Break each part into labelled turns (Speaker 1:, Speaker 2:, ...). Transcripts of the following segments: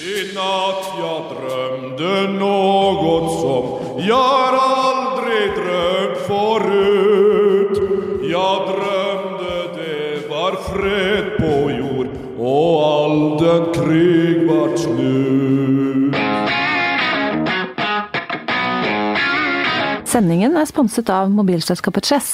Speaker 1: I natt jeg drømte noe som jeg aldri drømt forut. Jeg drømte det var fred på jord, og all den krig var slutt.
Speaker 2: Sendingen er sponset av mobilselskapet Chess.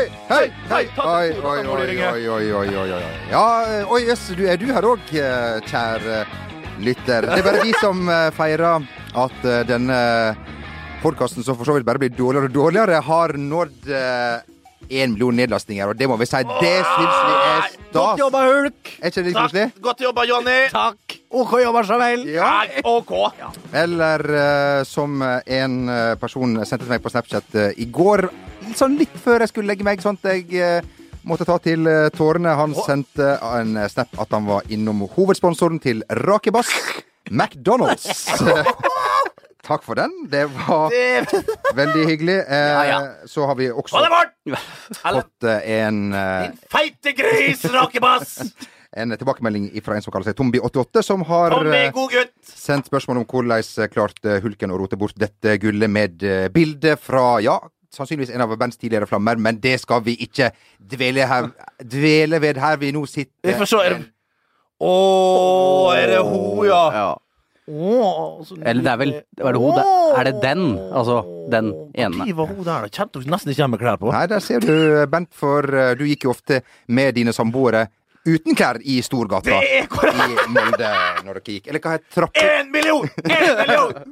Speaker 3: Oi, oi, oi, oi, oi, oi, oi, oi. Ja, oi, jøss, du er du her òg, kjære lytter. Det er bare vi som eh, feirer at eh, denne podkasten, som for så vidt bare blir dårligere og dårligere, har nådd én million nedlastninger, og det må vi si, det syns vi er
Speaker 4: Godt
Speaker 3: stas.
Speaker 4: jobba, Hulk.
Speaker 3: Er ikke det litt koselig?
Speaker 4: Takk. Godt jobba, Johnny. Takk. OK jobba, Jamel.
Speaker 3: Ja.
Speaker 4: Nei, OK.
Speaker 3: Eller eh, som en eh, person sendte til meg på Snapchat eh, i går, sånn litt før jeg skulle legge meg, sånn at jeg eh, måtte ta til eh, tårene. Han sendte en eh, snap at han var innom hovedsponsoren til Rakebass, McDonald's. Takk for den. Det var
Speaker 4: Det
Speaker 3: veldig hyggelig. Eh,
Speaker 4: ja.
Speaker 3: Så har vi
Speaker 4: Få
Speaker 3: også
Speaker 4: deg bort! Eller,
Speaker 3: fått eh, en, eh,
Speaker 4: Din feite gris, rakebass!
Speaker 3: en tilbakemelding fra en som kaller seg Tombi88, som har eh,
Speaker 4: Kom med, god gutt.
Speaker 3: sendt spørsmål om hvordan eh, klarte Hulken å rote bort dette gullet med eh, bilde fra ja, sannsynligvis en av bands tidligere flammer, men det skal vi ikke dvele, her, dvele ved her vi nå sitter.
Speaker 4: Vi får se. Er det... Å, er det ho, ja? Å, så
Speaker 5: Eller det er vel Er det, hodet? er det den? Altså, den ene.
Speaker 4: Når var hun der? da? Kjente hun nesten ikke igjen med klær på.
Speaker 3: Nei, der ser du, Bent, for eh, du gikk jo ofte med dine samboere uten klær i Storgata
Speaker 4: Det er Eh. korrekt!
Speaker 3: i Molde når dere gikk. Eller hva het trappa?
Speaker 4: Én million! Én million!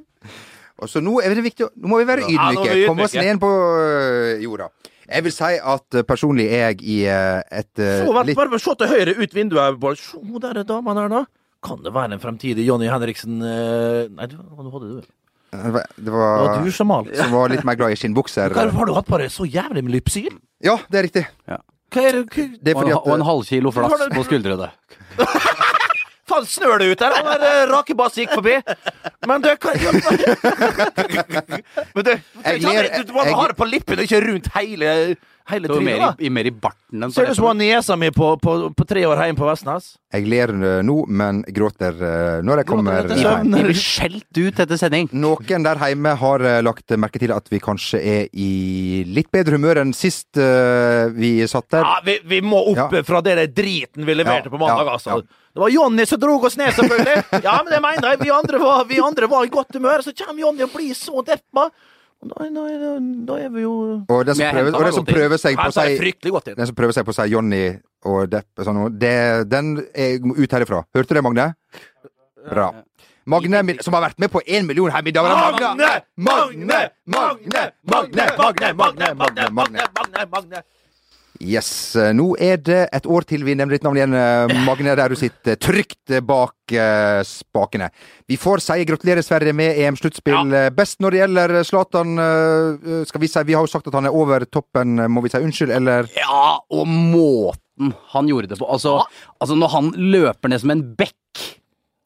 Speaker 3: Og Så nå er det viktig å- Nå må vi være
Speaker 4: Ja, nå må vi
Speaker 3: ydmyke.
Speaker 4: ydmyke.
Speaker 3: Komme oss ned på eh, jorda. Jeg vil si at eh, personlig er jeg i eh, et eh,
Speaker 4: Så, vent,
Speaker 3: litt
Speaker 4: bare, bare se til høyre ut vinduet. Bare, se hun der dama der, da. Kan det være en fremtidig Jonny Henriksen eh, Nei, du, hva hadde du?
Speaker 3: Det
Speaker 4: Det
Speaker 3: var
Speaker 4: var du som malte.
Speaker 3: som var litt mer glad i skinnbukser.
Speaker 4: Hva har du hatt bare så jævlig med lypsyl?
Speaker 3: Ja, det er riktig.
Speaker 4: Hva er det hva,
Speaker 3: Det er
Speaker 5: Og,
Speaker 3: fordi
Speaker 5: og en
Speaker 3: at
Speaker 5: halv kilo
Speaker 4: Har
Speaker 5: flass
Speaker 4: du-
Speaker 5: på skuldrene.
Speaker 4: Faen, snør det ut der? Han der eh, rakebass gikk forbi. Men du, hva ja, Men du,
Speaker 3: eh, Jeg
Speaker 4: du,
Speaker 3: ler-
Speaker 4: du, du må
Speaker 3: jeg-
Speaker 4: ha det på lippen, og ikke rundt hele, hele
Speaker 5: Det var mer
Speaker 4: trynet. da.
Speaker 5: i, mer i barten enn på
Speaker 4: Ser du som
Speaker 5: leppene.
Speaker 4: har nesa mi på, på, på tre år hjemme på Vestnes?
Speaker 3: jeg ler eh, nå, men gråter eh, når jeg kommer
Speaker 4: etter
Speaker 3: hjem.
Speaker 4: søvn.
Speaker 5: De blir skjelt ut etter sending.
Speaker 3: Noen der hjemme har eh, lagt merke til at vi kanskje er i litt bedre humør enn sist eh, vi satt der.
Speaker 5: Ah,
Speaker 4: Ja, vi, vi må opp
Speaker 3: Ja.
Speaker 4: fra det der driten vi leverte
Speaker 3: Ja,
Speaker 4: på mandag,
Speaker 3: ja,
Speaker 4: altså.
Speaker 3: ja.
Speaker 4: Det var Jonny som drog oss ned, selvfølgelig. Ja, men det mener jeg. Vi andre var, vi andre var i godt humør, så kommer Jonny og blir så deppa. Da, da, da, da er vi jo
Speaker 3: Og den som
Speaker 5: Men jeg
Speaker 3: prøver,
Speaker 5: hentet
Speaker 3: og
Speaker 5: meg
Speaker 3: den som
Speaker 5: godt inn.
Speaker 3: prøver seg på
Speaker 4: Han
Speaker 3: å
Speaker 4: tar
Speaker 3: si
Speaker 4: fryktelig godt inn.
Speaker 3: den som prøver seg på å si Johnny og Depp og sånn, og det, den er jeg må ut herifra. Hørte du det, Magne? Bra. Magne, mi- som har vært med på én million her i dag.
Speaker 4: Magne! Magne! Magne! Magne! Magne! Magne! Magne! Magne! Magne! Magne!
Speaker 3: Yes, eh, nå er det et år til vi nevner ditt navn igjen, eh, Magne, der du sitter trygt eh, bak eh, spakene. Vi får si gratulerer, Sverige, med EM-sluttspill. Eh, Best når det gjelder eh, Zlatan, eh, eh, skal vi si Vi har jo sagt at han er over toppen, eh, må vi si unnskyld, eller?
Speaker 5: Ja, og måten Mm, han gjorde det på. Altså, altså når han løper ned som en bekk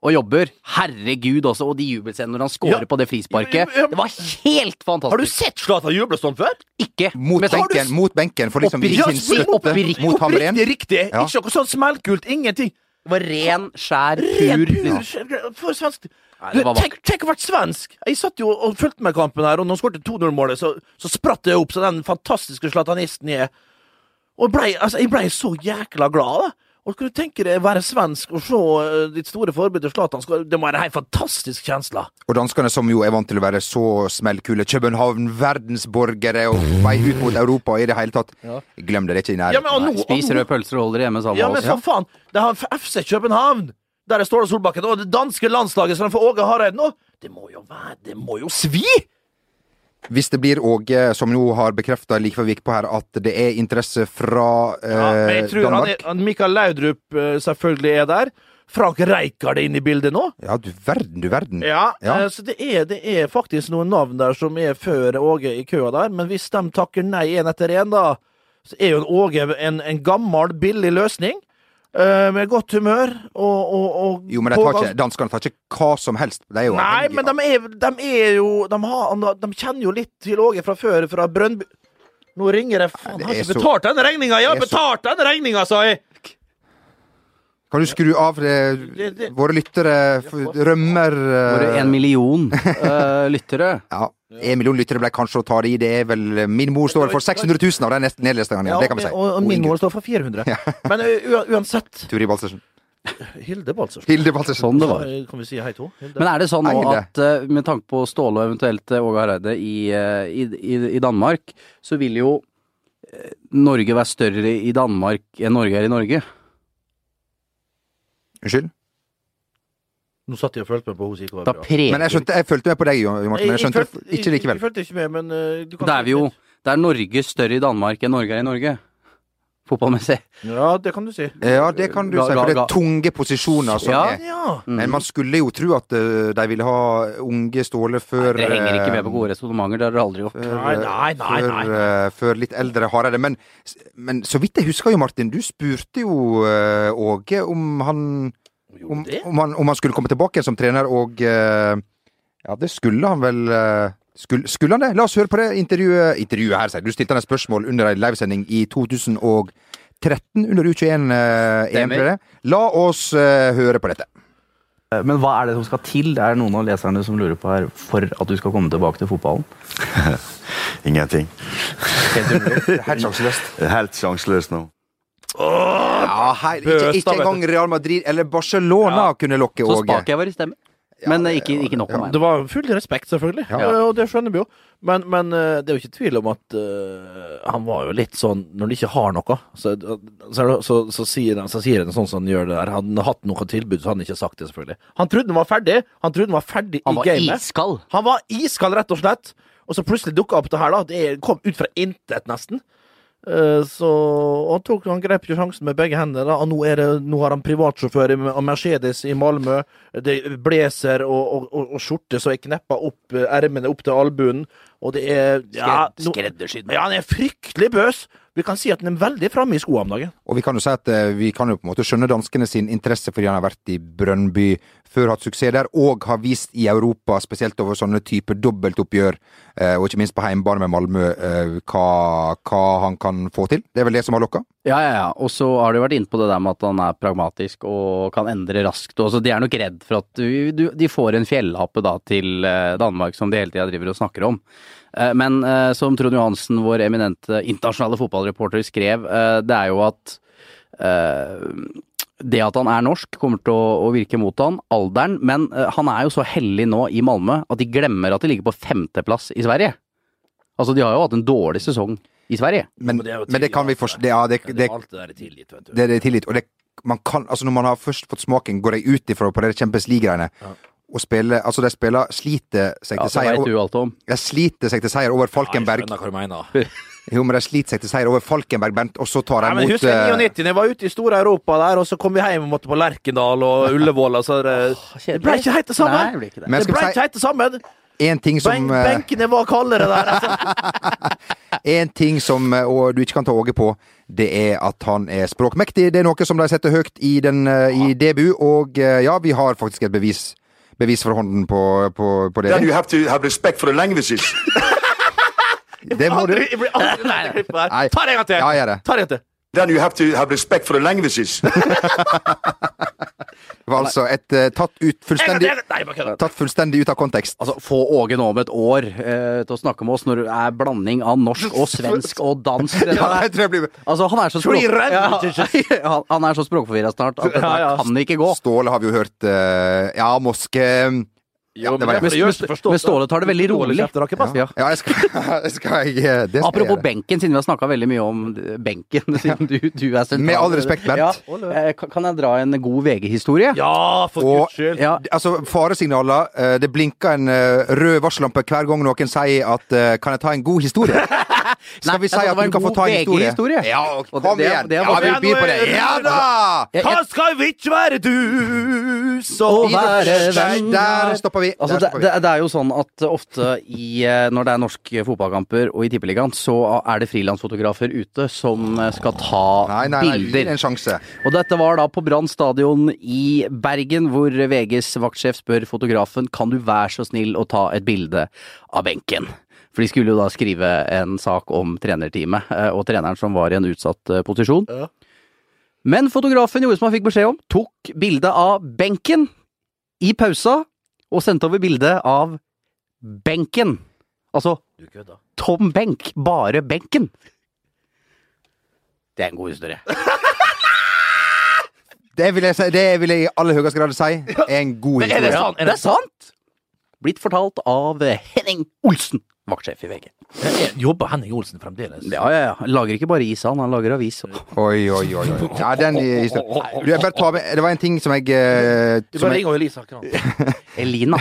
Speaker 5: og jobber, herregud også, og de jubelscenene når han scorer
Speaker 4: Ja.
Speaker 5: på det frisparket.
Speaker 4: Ja, ja.
Speaker 5: Det var helt fantastisk.
Speaker 4: Har du sett Zlatan juble sånn før?
Speaker 5: Ikke
Speaker 3: Mot
Speaker 5: med tanke-
Speaker 3: benken, mot benken, for liksom å
Speaker 5: Oppriktig-
Speaker 3: vise sin støtte
Speaker 5: oppriktig-
Speaker 3: mot Hamren.
Speaker 4: Riktig, riktig.
Speaker 3: Ja.
Speaker 4: Ikke noe sånn smellkult. Ingenting.
Speaker 5: Det var ren, skjær,
Speaker 4: Ren
Speaker 5: pur liksom.
Speaker 4: pur For svensk.
Speaker 5: Nei, det var
Speaker 4: Tenk, tenk å være svensk! Jeg satt jo og fulgte med kampen her, og når han skåret 2-0-målet, så, så spratt jeg opp som den fantastiske zlatanisten jeg er. Og jeg blei altså, jeg blei så jækla glad, da. Og kunne du tenke deg å være svensk og se eh, ditt store forbilde Zlatan skåre? Det må være en helt fantastisk kjensle.
Speaker 3: Og danskene, som jo er vant til å være så smellkule. København, verdensborgere og på vei ut mot Europa i det hele tatt. Glem det, det er ikke i
Speaker 4: Ja, men,
Speaker 3: nærheten.
Speaker 4: og
Speaker 3: nei.
Speaker 4: nå, og
Speaker 5: Spis
Speaker 4: nå-
Speaker 5: røde pølser og hold dere hjemme sammen
Speaker 4: Ja,
Speaker 5: med
Speaker 4: men
Speaker 5: oss.
Speaker 4: for faen! Det har FC København! Der er Ståle Solbakken og det danske landslaget som får Åge Hareide nå. Det må jo være Det må jo svi!
Speaker 3: Hvis det blir Åge, som nå har bekrefta like før vi gikk på her, at det er interesse fra eh,
Speaker 4: Ja, men jeg tror han
Speaker 3: Danmark
Speaker 4: er, han Mikael Laudrup eh, selvfølgelig er der. Frank Reikard er inne i bildet nå.
Speaker 3: Ja, du verden, du verden.
Speaker 4: Ja,
Speaker 3: Ja.
Speaker 4: eh, Så det er, det er faktisk noen navn der som er før Åge i køa der, men hvis de takker nei én etter én, da, så er jo en Åge en, en gammel, billig løsning. eh, med godt humør og, og, og
Speaker 3: Jo, men de tar
Speaker 4: pågass-
Speaker 3: ikke, danskene tar ikke hva som helst. De er jo
Speaker 4: Nei,
Speaker 3: avhengige
Speaker 4: men de er, de er jo de, har, de kjenner jo litt til Åge fra før, fra Brønnby Nå ringer jeg faen,
Speaker 3: det
Speaker 4: jeg har
Speaker 3: er
Speaker 4: ikke
Speaker 3: så-
Speaker 4: betalt den regninga! Jeg har
Speaker 3: det er så-
Speaker 4: betalt den regninga, sa jeg!
Speaker 3: av. Kan du skru av det,
Speaker 4: Det- det-
Speaker 3: våre lyttere? f- Rømmer
Speaker 5: Bare
Speaker 3: eh,
Speaker 5: en million eh, lyttere.
Speaker 3: Ja. En million lyttere ble kanskje å ta det i. Det er vel eh, Min mor står for 600 000 av de nest- nedlestningene.
Speaker 4: Ja,
Speaker 3: igjen, det kan vi si.
Speaker 4: og, og min mål står for 400. Men ø, u, uansett
Speaker 3: Turi Balsersen.
Speaker 4: Hilde Baltzersen.
Speaker 3: Hilde Balsersen.
Speaker 5: Sånn det var.
Speaker 4: Kan vi si hei til henne?
Speaker 5: Men
Speaker 4: Hilde.
Speaker 5: er det sånn nå
Speaker 3: Nei,
Speaker 5: at eh, med tanke på Ståle og eventuelt eh, Åge Hareide i, eh, i, i, i Danmark, så vil jo eh, Norge være større i Danmark enn Norge er i Norge?
Speaker 3: Unnskyld?
Speaker 4: Nå satt jeg og følte med på henne, sier hva
Speaker 5: Da
Speaker 4: bra.
Speaker 5: preger
Speaker 3: Men jeg, skjønte, jeg fulgte med på deg, Jo Morten, men jeg skjønte
Speaker 4: følte-
Speaker 3: ikke likevel.
Speaker 4: Jeg følte ikke med, men ø, du kan
Speaker 5: Da er vi jo Da er Norge større i Danmark enn Norge er i Norge. Fotballmessig.
Speaker 4: Ja, det kan du si.
Speaker 3: Ja, det kan du
Speaker 5: Ga-
Speaker 3: si, for det
Speaker 5: ga-
Speaker 3: er tunge posisjoner som
Speaker 5: Ja. Mm.
Speaker 3: er
Speaker 4: Ja.
Speaker 3: Men man skulle jo tro at eh, de ville ha unge Ståle før
Speaker 5: Dere henger ikke med
Speaker 3: eh,
Speaker 5: på gode resonnementer, det har dere aldri gjort.
Speaker 3: før,
Speaker 4: Nei, nei, nei,
Speaker 3: før,
Speaker 4: nei,
Speaker 3: eh, før litt eldre Hareide. Men, men så vidt jeg husker jo, Martin, du spurte jo eh, Åge om han om,
Speaker 4: det?
Speaker 3: om, han, om han skulle komme tilbake igjen som trener, og eh, Ja, det skulle han vel eh, skulle, skulle han det? La oss høre på det intervjuet. Intervjuet her, sier jeg. Du stilte han et spørsmål under ei livesending i 2013, under U21-EM.
Speaker 5: Stemmer.
Speaker 3: La oss eh, høre på dette.
Speaker 6: Eh, Men hva er det som skal til? Det er noen av leserne som lurer på her for at du skal komme tilbake til fotballen.
Speaker 7: Ingenting.
Speaker 3: Helt sjanseløst.
Speaker 7: Det er Helt sjanseløst nå.
Speaker 3: Ja, hei, ikke,
Speaker 4: Bøs, da,
Speaker 3: ikke
Speaker 4: vet
Speaker 3: engang Real Madrid eller Barcelona kunne lokke
Speaker 5: Så
Speaker 3: Åge.
Speaker 5: spak jeg var i stemmen. Men eh, ikke, ikke nok om meg.
Speaker 4: Det var full respekt, selvfølgelig.
Speaker 3: Ja.
Speaker 4: Eh, Og det skjønner vi jo. Men, men eh, det er jo ikke tvil om at eh, han var jo litt sånn Når han ikke har noe, så, så, er det- så, så sier han så sier han sånn som han gjør det der. Han har hatt noe tilbud, så han har ikke sagt det, selvfølgelig. Han trodde han var ferdig. Han trodde han var ferdig
Speaker 5: Han
Speaker 4: i
Speaker 5: var
Speaker 4: gamet.
Speaker 5: iskald.
Speaker 4: Han var iskald, rett og slett. Og så plutselig dukka opp det her, da. Det kom ut fra intet, nesten. Eh, Så og han, tok, han grep jo sjansen med begge hender. Da. Og nå, er det, nå har han privatsjåfør i og Mercedes i Malmö. Det er blazer og, og, og, og skjorte så er kneppa opp eh, ermene opp til albuen. Og det er ja,
Speaker 5: Skred-
Speaker 4: nå-
Speaker 5: Skreddersydd.
Speaker 4: ja, han er fryktelig bøs. Vi kan si at han er veldig framme i skoa om dagen.
Speaker 3: Og vi kan jo si at eh, vi kan jo på en måte skjønne danskene sin interesse fordi han har vært i Brønnby før, hatt suksess der, og har vist i Europa, spesielt over sånne typer dobbeltoppgjør, eh, og ikke minst på heimbane med Malmö, eh, hva, hva han kan få til. Det er vel det som har lokka?
Speaker 5: Ja, ja, ja. Og så har du vært inne på det der med at han er pragmatisk og kan endre raskt. Og så de er nok redd for at du, du, de får en fjellhappe da til eh, Danmark som de hele tida driver og snakker om. Eh, Men eh, som Trond Johansen, vår eminente internasjonale fotballreporter, skrev, eh, det er jo at eh, det at han er norsk kommer til å, å virke mot han, alderen, men eh, han er jo så heldig nå i Malmö at de glemmer at de ligger på femteplass i Sverige. Altså, de har jo hatt en dårlig sesong i Sverige.
Speaker 3: Men,
Speaker 4: Men det er jo
Speaker 3: men det kan vi
Speaker 4: tilgitt,
Speaker 3: forstå. Ja, det, det,
Speaker 4: Alt det der er tilgitt, vet du.
Speaker 3: det, det er tillit. Og det, man kan, altså når man har først fått smaken, går jeg ut ifra på det Champions League-greiene. Og spiller, altså de spiller sliter seg til
Speaker 5: Ja, det
Speaker 3: seier.
Speaker 5: veit
Speaker 3: og-
Speaker 5: du alt om.
Speaker 3: De sliter seg til seier over Falkenberg.
Speaker 4: hva du mener.
Speaker 3: Jo, men de sliter seg til seier over Falkenberg, Bernt, og så tar
Speaker 4: Nei,
Speaker 3: de
Speaker 4: men
Speaker 3: mot
Speaker 4: husker jeg
Speaker 3: eh,
Speaker 4: 99, jeg var ute i store Europa der, og så kom vi hjem og måtte på Lerkendal og Ullevål. Og så er det, det ble ikke helt det samme.
Speaker 5: Nei, det ble ikke det.
Speaker 3: Men jeg
Speaker 4: det
Speaker 3: skal
Speaker 4: ble
Speaker 3: si-
Speaker 4: ikke helt det samme.
Speaker 3: En ting som,
Speaker 4: Benk,
Speaker 3: eh,
Speaker 4: benkene var kaldere der. Altså.
Speaker 3: en ting som eh, og du ikke kan ta Åge på, det er at han er språkmektig. Det er noe som de setter høyt i, den, eh, i DBU, og eh, ja, vi har faktisk et bevis, bevis for hånden på, på, på det.
Speaker 7: Then you have to have respect for the languages.
Speaker 3: Det må du.
Speaker 4: Aldri- Jeg blir aldri lei av det klippet
Speaker 3: Nei.
Speaker 4: der. Ta det en gang til!
Speaker 3: Ja, gjør det.
Speaker 4: Ta det en gang til.
Speaker 7: Then you have to have respect for the languages.
Speaker 3: Det var altså et, eh, tatt, ut
Speaker 4: En gang
Speaker 3: fullstendig,
Speaker 4: til. Nei, jeg bare kødder.
Speaker 3: tatt fullstendig ut av kontekst.
Speaker 5: Altså, Få Åge nå om et år eh, til å snakke med oss når det er blanding av norsk og svensk og dansk. Det
Speaker 3: Ja,
Speaker 5: der.
Speaker 3: jeg tror jeg blir
Speaker 5: Altså, han er så
Speaker 4: Three
Speaker 5: språk-
Speaker 4: languages.
Speaker 5: Ja, han- Han er så språkforvirra snart at dette
Speaker 4: Ja,
Speaker 5: her
Speaker 4: ja.
Speaker 5: kan ikke gå.
Speaker 3: Ståle har vi jo hørt eh, Ja, Moske Ja, det var
Speaker 4: men
Speaker 3: jeg.
Speaker 5: Men,
Speaker 4: det gjør seg forstått,
Speaker 5: men Ståle tar det veldig
Speaker 4: Ståle
Speaker 5: rolig.
Speaker 4: kjefter ikke pass.
Speaker 5: Ja.
Speaker 3: Ja, jeg skal, jeg skal jeg, eh, det skal
Speaker 5: Apropos
Speaker 3: jeg gjøre.
Speaker 5: benken, siden vi har snakka veldig mye om eh, benken. Siden du, du er sentral.
Speaker 3: Med all respekt, Bent.
Speaker 5: Ja, eh, kan- kan jeg dra en god VG-historie?
Speaker 4: Ja, for
Speaker 3: Og-
Speaker 4: guds skyld.
Speaker 5: Ja,
Speaker 3: Altså, faresignaler. eh, Det blinker en eh, rød varsellampe hver gang noen sier at eh, 'kan jeg ta en god historie'? Skal vi
Speaker 5: jeg
Speaker 3: si
Speaker 5: sa altså, det
Speaker 3: at
Speaker 5: var
Speaker 3: du
Speaker 5: en
Speaker 3: kan få
Speaker 5: god
Speaker 3: ta en historie?
Speaker 5: VG-historie.
Speaker 3: Ja,
Speaker 5: Og det-
Speaker 3: kom
Speaker 5: det-
Speaker 3: igjen!
Speaker 5: det er
Speaker 3: Ja,
Speaker 5: bare-
Speaker 3: vi byr på det. Ja da!
Speaker 5: Jeg-
Speaker 4: Hva skal vi ikke være du, så
Speaker 5: Å være
Speaker 3: Nei,
Speaker 5: venn
Speaker 3: Der stopper vi.
Speaker 5: Altså,
Speaker 3: Der
Speaker 5: det,
Speaker 3: stopper vi.
Speaker 5: det, det er jo sånn at ofte i, eh, når det er norske fotballkamper og i Tippeligaen, så er det frilansfotografer ute som eh, skal ta
Speaker 3: Nei, nei, nei, gi det
Speaker 5: bilder.
Speaker 3: en sjanse.
Speaker 5: Og dette var da på Brann stadion i Bergen, hvor VGs vaktsjef spør fotografen kan du være så snill å ta et bilde av benken. For de skulle jo da skrive en sak om trenerteamet eh, og treneren som var i en utsatt eh, posisjon.
Speaker 4: Ja.
Speaker 5: Men fotografen gjorde som han fikk beskjed om, tok bilde av benken i pausa og sendte over bilde av benken. Altså
Speaker 4: Du kødda.
Speaker 5: tom benk, bare benken. Det er en god historie.
Speaker 3: Det vil jeg, si, det vil jeg i aller høyeste grad si er en god
Speaker 4: Men er det
Speaker 3: historie.
Speaker 4: sant? Er
Speaker 5: Det
Speaker 4: det
Speaker 5: er sant! Blitt fortalt av eh, Henning Olsen, vaktsjef i VG.
Speaker 4: sant? Jobber Henning Olsen fremdeles?
Speaker 5: Ja, ja, ja. Lager ikke bare is, han. Han lager avis.
Speaker 3: Oi, oi, oi. oi. Ja, den historien. Du, jeg bare tar med, det var en ting som jeg eh,
Speaker 4: Du
Speaker 3: som
Speaker 4: bare
Speaker 3: jeg,
Speaker 4: ringer Elisa Kran.
Speaker 5: Elina.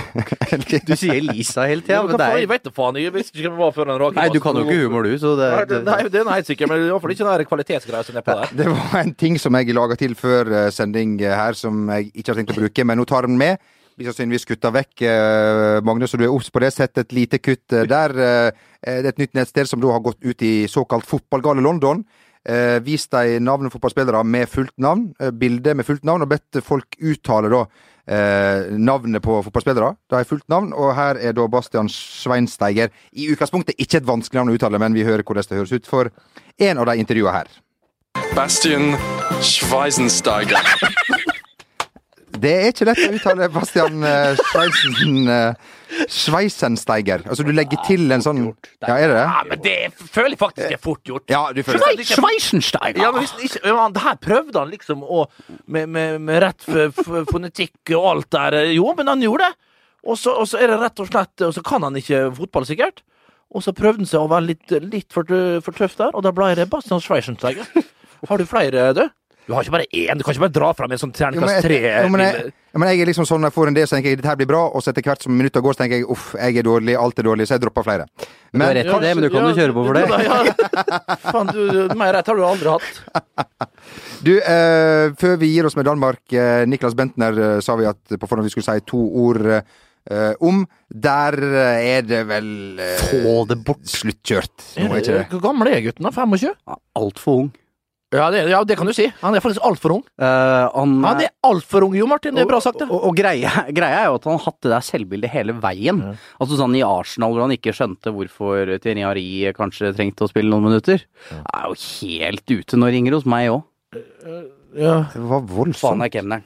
Speaker 5: Du sier Elisa hele tida, men det
Speaker 4: Jeg
Speaker 5: er
Speaker 4: vet da faen, jeg visste ikke hvem det var før den rake
Speaker 5: Nei, du kan jo ikke humor, du, så det,
Speaker 4: Nei, det,
Speaker 5: det
Speaker 4: nei, det er helt sikkert, men det er i hvert fall ikke den der kvalitetsgreia som er på der.
Speaker 3: det var en ting som jeg laga til før eh, sending eh, her, som jeg ikke har tenkt å bruke, men nå tar den med. Vi skal sannsynligvis kutte vekk eh, Magnus, så du er obs på det. Sett et lite kutt eh, der. Eh, Det er et nytt nettsted som da har gått ut i såkalt fotballgale London. Eh, vist dem navn på fotballspillere med fullt navn, eh, bilde med fullt navn, og bedt folk uttale da eh, navnet på fotballspillere. De har fullt navn, og her er da Bastian Sveinsteiger. I utgangspunktet ikke et vanskelig navn å uttale, men vi hører hvordan det høres ut for en av de intervjua her.
Speaker 8: Bastian Schweisensteiger.
Speaker 3: Det er ikke lett å uttale Bastian eh, Schweisen, eh, Schweisensteiger. Altså, du legger til en sånn Ja, er det det?
Speaker 4: Nei, men det er- føler jeg faktisk det er fort gjort.
Speaker 3: Ja, du føler det.
Speaker 5: er Schweisensteiger!
Speaker 4: Ja, men hvis den ikke, ja, men her prøvde han liksom å Med, med, med rett f- f- fonetikk og alt der. Jo, men han gjorde det. Og så, og så er det rett og slett Og så kan han ikke fotball, sikkert. Og så prøvde han seg å være litt, litt for, tø- for tøff der, og da ble det Bastian Schweizensteiger. Har du flere, du? Du har ikke bare én? Du kan ikke bare dra fram en sånn
Speaker 3: Jo, men
Speaker 4: terningkast
Speaker 3: jeg,
Speaker 4: tre?
Speaker 3: jo, men jeg, jo, men jeg er liksom sånn når jeg får en del, så tenker jeg dette her blir bra, og så etter hvert som minutta går, så tenker jeg uff, jeg er dårlig, alt er dårlig, så jeg dropper flere.
Speaker 5: Du
Speaker 3: Men
Speaker 5: har rett i det, men du kan jo kjøre på for det.
Speaker 4: Faen, du, mer rett har du aldri hatt.
Speaker 3: du, eh, før vi gir oss med Danmark, eh, Niklas Bentner eh, sa vi at på forhånd vi skulle si to ord eh, om. Der eh, er det vel eh,
Speaker 5: Få det bort.
Speaker 3: sluttkjørt. Nå er ikke det.
Speaker 4: Hvor gammel er gutten? da? 25?
Speaker 5: Altfor Ah, ung.
Speaker 4: Ja det, ja, det kan du si. Han er faktisk altfor ung.
Speaker 5: Eh, han,
Speaker 4: Han er altfor ung, jo, Martin. Det er bra sagt, det.
Speaker 5: Og, og, og greia, greia er jo at han har hatt det der selvbildet hele veien. Altså sånn i Arsenal hvor han ikke skjønte hvorfor Thierry Henry kanskje trengte å spille noen minutter. Er jo helt ute. Nå ringer hos meg òg.
Speaker 4: Ja.
Speaker 3: Det var
Speaker 5: Faen
Speaker 3: voldsomt.
Speaker 5: er kemneren.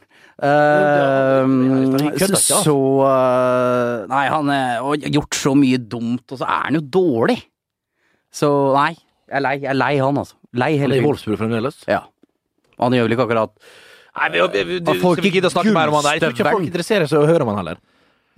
Speaker 4: det er-
Speaker 5: Eh,
Speaker 4: det er- det er-
Speaker 5: så eh, Nei, han eh, har gjort så mye dumt, og så er han jo dårlig. Så nei, jeg er lei, jeg er lei han, altså. Lei hele tiden.
Speaker 4: Wolfsburg fremdeles?
Speaker 5: Ja. Han gjør vel ikke akkurat
Speaker 4: Nei, vi, vi, vi, du,
Speaker 5: Har folk
Speaker 4: Skal vi gidde å snakke mer om han? Nei, Jeg tror ikke folk
Speaker 5: gullstøvelen?
Speaker 4: interesserer seg å høre om han heller.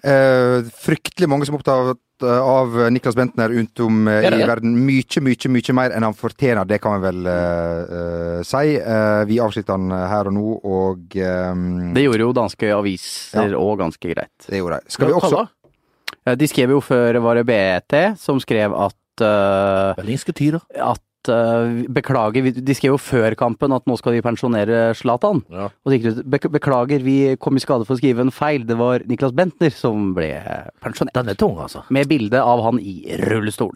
Speaker 3: Eh, fryktelig mange som er opptatt eh, av Niklas Bentner rundt om eh,
Speaker 4: Er det
Speaker 3: i
Speaker 4: det?
Speaker 3: verden. Mykje, mykje, mykje mer enn han fortjener, det kan vi vel eh, eh, si. Eh, vi avslutter han her og nå, og eh,
Speaker 5: Det gjorde jo danske aviser òg ganske greit.
Speaker 3: det gjorde jeg. Skal vi også
Speaker 5: Eh, De skrev jo før var det BT som skrev at eh,
Speaker 4: Berlinske tyra.
Speaker 5: at eh, Beklager, vi- de skrev jo før kampen at nå skal de pensjonere Zlatan.
Speaker 4: Ja.
Speaker 5: Og det gikk ut "Bek- Beklager, vi kom i skade for å skrive en feil. Det var Niklas Bentner som ble pensjonert.
Speaker 4: Den er tung, altså.
Speaker 5: Med bilde av han i rullestol.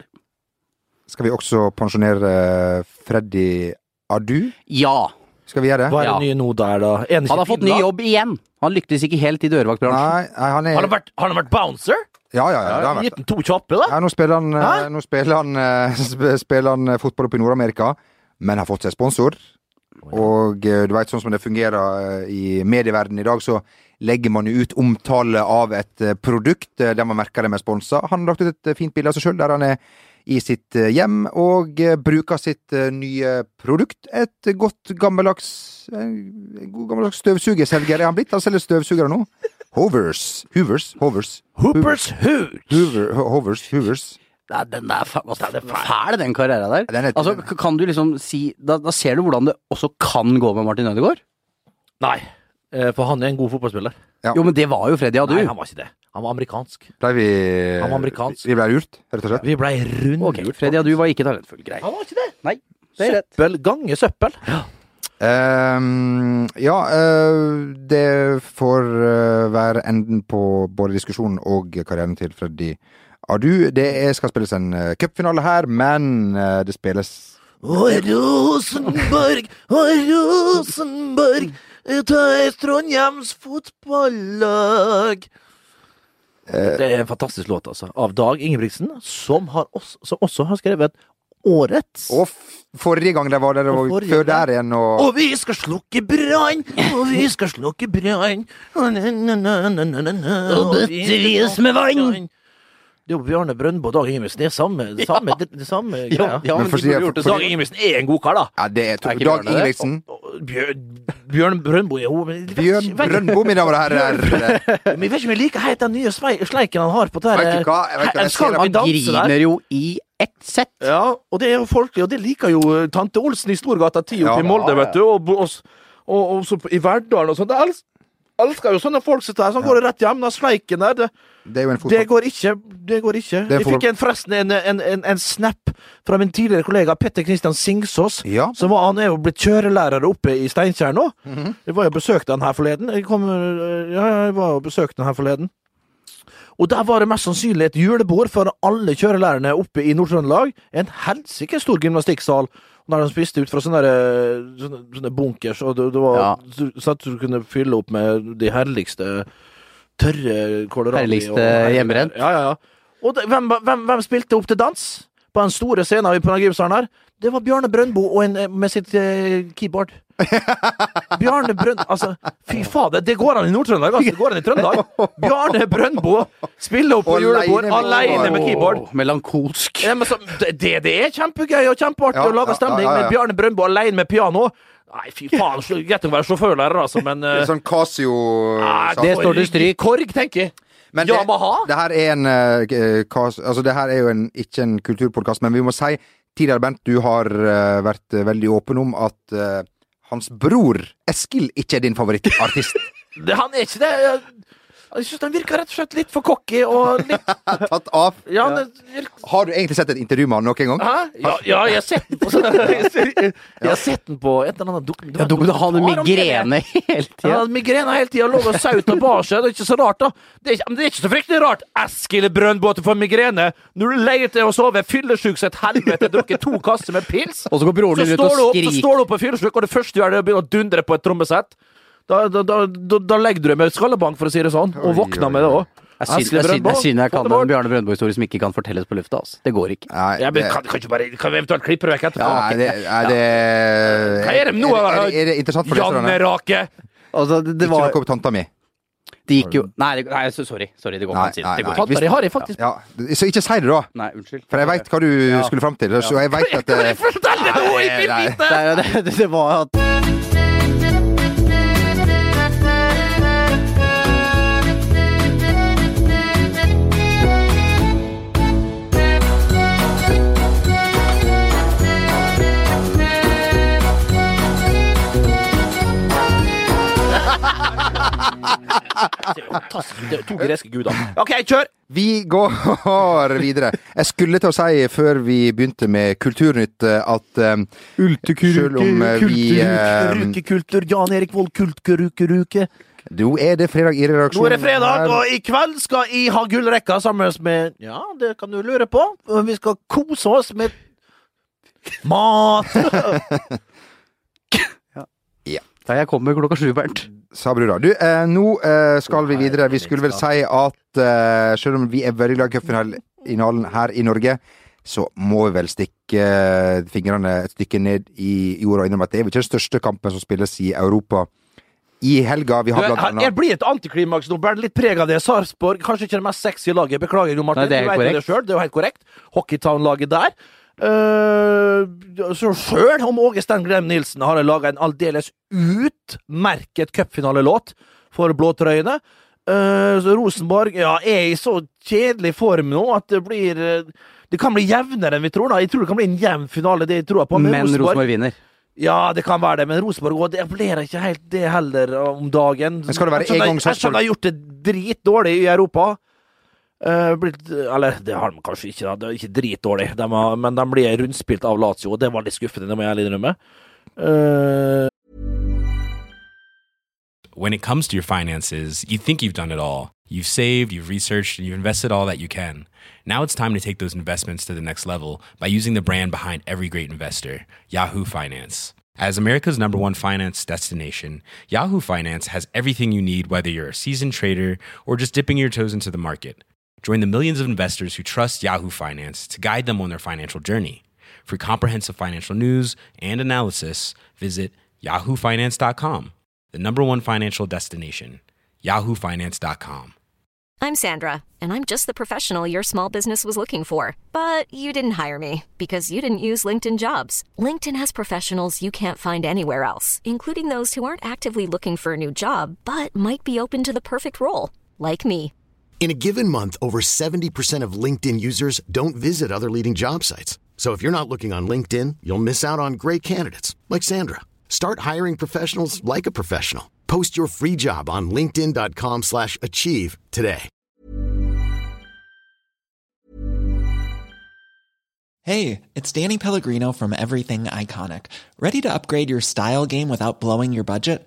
Speaker 3: Skal vi også pensjonere eh, Freddy Adu?
Speaker 5: Ja!
Speaker 3: Skal vi gjøre det?
Speaker 4: Hva er
Speaker 5: Ja.
Speaker 4: det nye nå der, da? Er ikke
Speaker 5: Han har fått ny
Speaker 4: Finland?
Speaker 5: jobb igjen! Han lyktes ikke helt i dørvaktbransjen.
Speaker 3: Nei, nei, han er
Speaker 4: Har han vært, har han vært bouncer?
Speaker 3: Ja, ja, ja. Det har han vært.
Speaker 4: Gitt han to kjappe, da?
Speaker 3: Ja, nå spiller han, eh,
Speaker 4: Hæ?
Speaker 3: nå spiller han, eh, sp- spiller han eh, fotball oppe i Nord-Amerika, men har fått seg sponsor. Og eh, du veit sånn som det fungerer eh, i medieverdenen i dag, så legger man jo ut omtale av et eh, produkt eh, der man merker det med sponsa. Han har lagt ut et eh, fint bilde av seg sjøl der han er i sitt eh, hjem og eh, bruker sitt eh, nye produkt. Et godt gammeldags eh, en god gammeldags støvsugerselger er han blitt. Han selger støvsugere nå. Hovers. Hoovers. Hovers.
Speaker 4: Hoopers Hoot!
Speaker 3: Hoover, Hovers. Hoovers.
Speaker 5: Nei, den er faen altså, den er fæl, den karrieren der.
Speaker 3: Den er-
Speaker 5: Altså, k- kan du liksom si da, da ser du hvordan det også kan gå med Martin Ødegaard.
Speaker 4: Nei, eh, for han er en god fotballspiller.
Speaker 3: Ja.
Speaker 5: Jo, men det var jo Freddy Adu.
Speaker 4: Nei, han var ikke det. Han var amerikansk.
Speaker 3: Ble vi
Speaker 4: Han var amerikansk.
Speaker 3: Vi ble lurt, rett og slett.
Speaker 4: Vi blei rundt.
Speaker 5: Ok, Freddy, du var ikke talentfull. Grei.
Speaker 4: Han var ikke det.
Speaker 5: Nei, det er rett.
Speaker 4: Søppel. Gange søppel.
Speaker 3: Ehm, ja, eh, det får eh, være enden på både diskusjonen og karrieren til Freddy Adu. Det er, skal spilles en eh, cupfinale her, men eh, det spilles
Speaker 4: Å, Rosenborg, å, Rosenborg, ta et Trondheims fotballag. Det er en fantastisk låt, altså. Av Dag Ingebrigtsen, som, har også, som også har skrevet årets.
Speaker 3: Og f forrige gang det var der, det
Speaker 4: Og
Speaker 3: var
Speaker 4: forrige
Speaker 3: før
Speaker 4: gang.
Speaker 3: der igjen, og
Speaker 4: Og vi skal slukke brann, og vi skal slukke brann. Og bøttevis med vann. Det er jo Bjarne Brøndbo og Dag Ingebrigtsen. Det er samme, det samme, det, det samme greia.
Speaker 5: Ja,
Speaker 3: Men
Speaker 5: men
Speaker 3: for å si-
Speaker 5: de burde gjort det
Speaker 3: for-
Speaker 4: Dag
Speaker 5: sånn.
Speaker 4: Ingebrigtsen er en god kar, da.
Speaker 3: ja, det er to,
Speaker 5: Er
Speaker 3: Dag
Speaker 5: ikke Bjørn det?
Speaker 3: Ingebrigtsen.
Speaker 4: Bjørn, Bjørn Brøndbo er jo men-
Speaker 3: Bjørn
Speaker 4: Vet-
Speaker 3: Brøndbo, mine damer og herrer.
Speaker 4: Men jeg vet ikke om jeg liker helt den nye svei- sleiken han har på det
Speaker 3: Vet du hva? Jeg vet ikke, jeg ser
Speaker 4: skal
Speaker 3: det.
Speaker 4: man danse der.
Speaker 5: Griner jo i ett sett.
Speaker 4: Ja, og det er jo folkelig, og det liker jo eh, tante Olsen i Storgata 10
Speaker 3: Ja,
Speaker 4: oppe i Molde,
Speaker 3: ja,
Speaker 4: vet du. Og, bo- og, s- og, og så på- i Verdalen og sånt. Jeg els- elsker jo sånne folk som det her, som går rett hjem. Den sleiken der, det,
Speaker 3: Det er jo en
Speaker 4: det
Speaker 3: fotball.
Speaker 4: går ikke. Det går ikke.
Speaker 3: Det er
Speaker 4: Jeg fikk en, forresten en, en, en, en snap fra min tidligere kollega Petter Kristian Singsås.
Speaker 3: Ja.
Speaker 4: Så var, han er jo blitt kjørelærer oppe i Steinkjer nå.
Speaker 3: Mhm.
Speaker 4: Jeg var jo og besøkte han her forleden. Jeg, kom, øh, ja, jeg var jo og besøkte han her forleden. Og der var det mest sannsynlig et julebord for alle kjørelærerne oppe i Nord-Trøndelag. En helsike stor gymnastikksal. Der de spiste ut fra sånne, der, øh, sånne, sånne bunkers, og det, det var
Speaker 5: Ja.
Speaker 4: så- sånn at du kunne fylle opp med de herligste tørre kålrabi. og-
Speaker 5: Herligste hjemmebrent.
Speaker 4: Ja, ja, ja. Og det, hvem, hvem, hvem spilte opp til dans på den store scenen på den gymsalen her? Det var Bjarne Brøndbo og en, eh, med sitt eh, keyboard. Bjarne Brøndbo Altså, fy fader, det går an i Nord-Trøndelag! Altså, det går an i Trøndelag! Bjarne Brøndbo spiller opp på
Speaker 3: Alene
Speaker 4: julebord
Speaker 3: med
Speaker 4: aleine med keyboard.
Speaker 5: Åh, Melankolsk.
Speaker 4: Ja, men så, det, det er kjempegøy og kjempeartig
Speaker 3: Ja,
Speaker 4: å lage
Speaker 3: ja,
Speaker 4: stemning,
Speaker 3: ja, ja, ja.
Speaker 4: men Bjarne Brøndbo aleine med piano Nei, fy faen, så- greit å være sjåførlærer, altså, men eh,
Speaker 3: Litt sånn Casio
Speaker 4: Nei,
Speaker 3: sak.
Speaker 5: det står til stryk.
Speaker 4: Korg, tenker jeg.
Speaker 3: Men det,
Speaker 4: Yamaha?
Speaker 3: det her er en eh, k- kas, Altså, det her er jo en, ikke en kulturpodkast, men vi må si tidligere, Bent, du har eh, vært eh, veldig åpen om at eh, hans bror Eskil ikke er din favorittartist.
Speaker 4: Det, han er ikke det. Jeg- Jeg syns den virker rett og slett litt for cocky og litt
Speaker 3: Tatt av.
Speaker 4: Ja, det virker,
Speaker 3: Har du egentlig sett et intervju med han noen gang?
Speaker 4: hæ? ja, ja jeg har sett den på sånn Jeg har sett den på et eller annet dok
Speaker 5: Ja, du kunne ha en
Speaker 4: dokumentar om det.
Speaker 5: migrene
Speaker 4: Han
Speaker 5: hele tida.
Speaker 4: hadde migrene hele tida, lå og saut og bar seg. Det er ikke så rart, da. Det er ikke, men det er ikke så fryktelig rart. Eskil Brøndbåt får migrene når du leier til å sove, fyllesyk som et helvete, drukket to kasser med pils.
Speaker 5: Og så går broren
Speaker 4: Så
Speaker 5: din ut
Speaker 4: står, du
Speaker 5: og
Speaker 4: opp, så
Speaker 5: skriker.
Speaker 4: står du opp og fyrer slukk, og det første du gjør, det er å begynne å dundre på et trommesett. Da, da, da, da, da legger du deg med skallebank, for å si det sånn, og våkner med det òg.
Speaker 5: Jeg syns jeg, syns- jeg, syns jeg kan en Bjarne Brøndbo-historie som ikke kan fortelles på lufta. Altså. Det går ikke.
Speaker 3: Nei,
Speaker 4: Ja, men
Speaker 3: det-
Speaker 4: kan, kan, ikke bare, kan vi eventuelt klippe det vekk etterpå?
Speaker 3: nei, det, nei, det
Speaker 4: Hva er det nå?
Speaker 3: Er, er, er det interessant for
Speaker 4: Janne
Speaker 3: leserne?
Speaker 4: Rake!
Speaker 5: Altså, det, det
Speaker 3: Ikke
Speaker 5: var
Speaker 3: noe om tanta mi.
Speaker 5: Det gikk jo Nei, det, nei så- sorry. sorry. Det går ikke
Speaker 3: Nei,
Speaker 5: an å si det.
Speaker 3: nei,
Speaker 5: det. går
Speaker 3: nei.
Speaker 5: ikke.
Speaker 3: Hvis-
Speaker 4: Patari har jeg faktisk
Speaker 3: Ja, så ikke si det, da.
Speaker 5: Nei, unnskyld.
Speaker 3: For jeg veit hva du skulle fram til. Så jeg vet at
Speaker 4: Kan jeg
Speaker 3: eh,
Speaker 4: fortelle det nå? Jeg vil
Speaker 3: Nei,
Speaker 4: vite!
Speaker 5: Det, er- det, det, det var at
Speaker 4: Fantastisk. Det er to greske guder. OK, kjør!
Speaker 3: Vi går videre. Jeg skulle til å si før vi begynte med Kulturnytt, eh, at um, selv om eh, vi eh,
Speaker 4: Rukekultur, Jan Erik Vold, kultkerukeruke.
Speaker 3: Nå er det fredag i
Speaker 4: Nå
Speaker 3: redaksjonen.
Speaker 4: er det fredag,
Speaker 3: her.
Speaker 4: og i kveld skal jeg ha gullrekka sammen med Ja, det kan du lure på. Vi skal kose oss med mat.
Speaker 5: Ja, jeg kommer klokka sju, Bernt.
Speaker 3: Sa brura. Du, eh, nå eh, skal vi videre. Vi skulle vel si at eh, selv om vi er veldig glad i cupfinalen her i Norge, så må vi vel stikke eh, fingrene et stykke ned i jorda og innrømme at det er vel ikke den største kampen som spilles i Europa i helga. Vi
Speaker 4: Du,
Speaker 3: har blant
Speaker 4: her,
Speaker 3: annet
Speaker 4: jeg blir et antiklimaks nå. Bærer litt preg av det. Sarpsborg, kanskje ikke det mest sexy laget. Beklager, Jo Martin.
Speaker 5: Nei, det
Speaker 4: du
Speaker 5: er helt
Speaker 4: vet jo det selv, det er jo helt korrekt. Hockeytown-laget der. Eh, så sjøl om Åge Stein Grem Nilsen har laga en aldeles utmerket cupfinalelåt for blåtrøyene. Eh, så Rosenborg ja, er i så kjedelig form nå at det blir eh, Det kan bli jevnere enn vi tror. da Jeg tror det kan bli en jevn finale, det jeg tror på.
Speaker 5: Men Rosenborg vinner.
Speaker 4: Ja, det kan være det, men Rosenborg også, det appellerer ikke helt det heller eh, om dagen.
Speaker 3: Men skal det være
Speaker 4: Jeg skjønner-
Speaker 3: en gang
Speaker 4: Jeg skjønner jeg har gjort det dritdårlig i Europa. Eh, blitt, eller det har de kanskje ikke, da. Det er ikke dritdårlig, de har, men de blir rundspilt av Lazio, og det var litt skuffende, det må jeg ærlig innrømme. Eh,
Speaker 9: when it comes to your finances, you think you've done it all. You've saved, you've researched, and you've invested all that you can. Now it's time to take those investments to the next level by using the brand behind every great investor, Yahoo Finance. As America's number one finance destination, Yahoo Finance has everything you need, whether you're a seasoned trader or just dipping your toes into the market. Join the millions of investors who trust Yahoo Finance to guide them on their financial journey. For comprehensive financial news and analysis, visit yahoofinance.com the number one financial destination, yahoofinance.com.
Speaker 10: I'm Sandra, and I'm just the professional your small business was looking for. But you didn't hire me because you didn't use LinkedIn jobs. LinkedIn has professionals you can't find anywhere else, including those who aren't actively looking for a new job but might be open to the perfect role, like me.
Speaker 11: In a given month, over 70% of LinkedIn users don't visit other leading job sites. So if you're not looking on LinkedIn, you'll miss out on great candidates like Sandra. Start hiring professionals like a professional. Post your free job on linkedin.com/achieve slash achieve today.
Speaker 12: Hey, it's Danny Pellegrino from Everything Iconic. Ready to upgrade your style game without blowing your budget?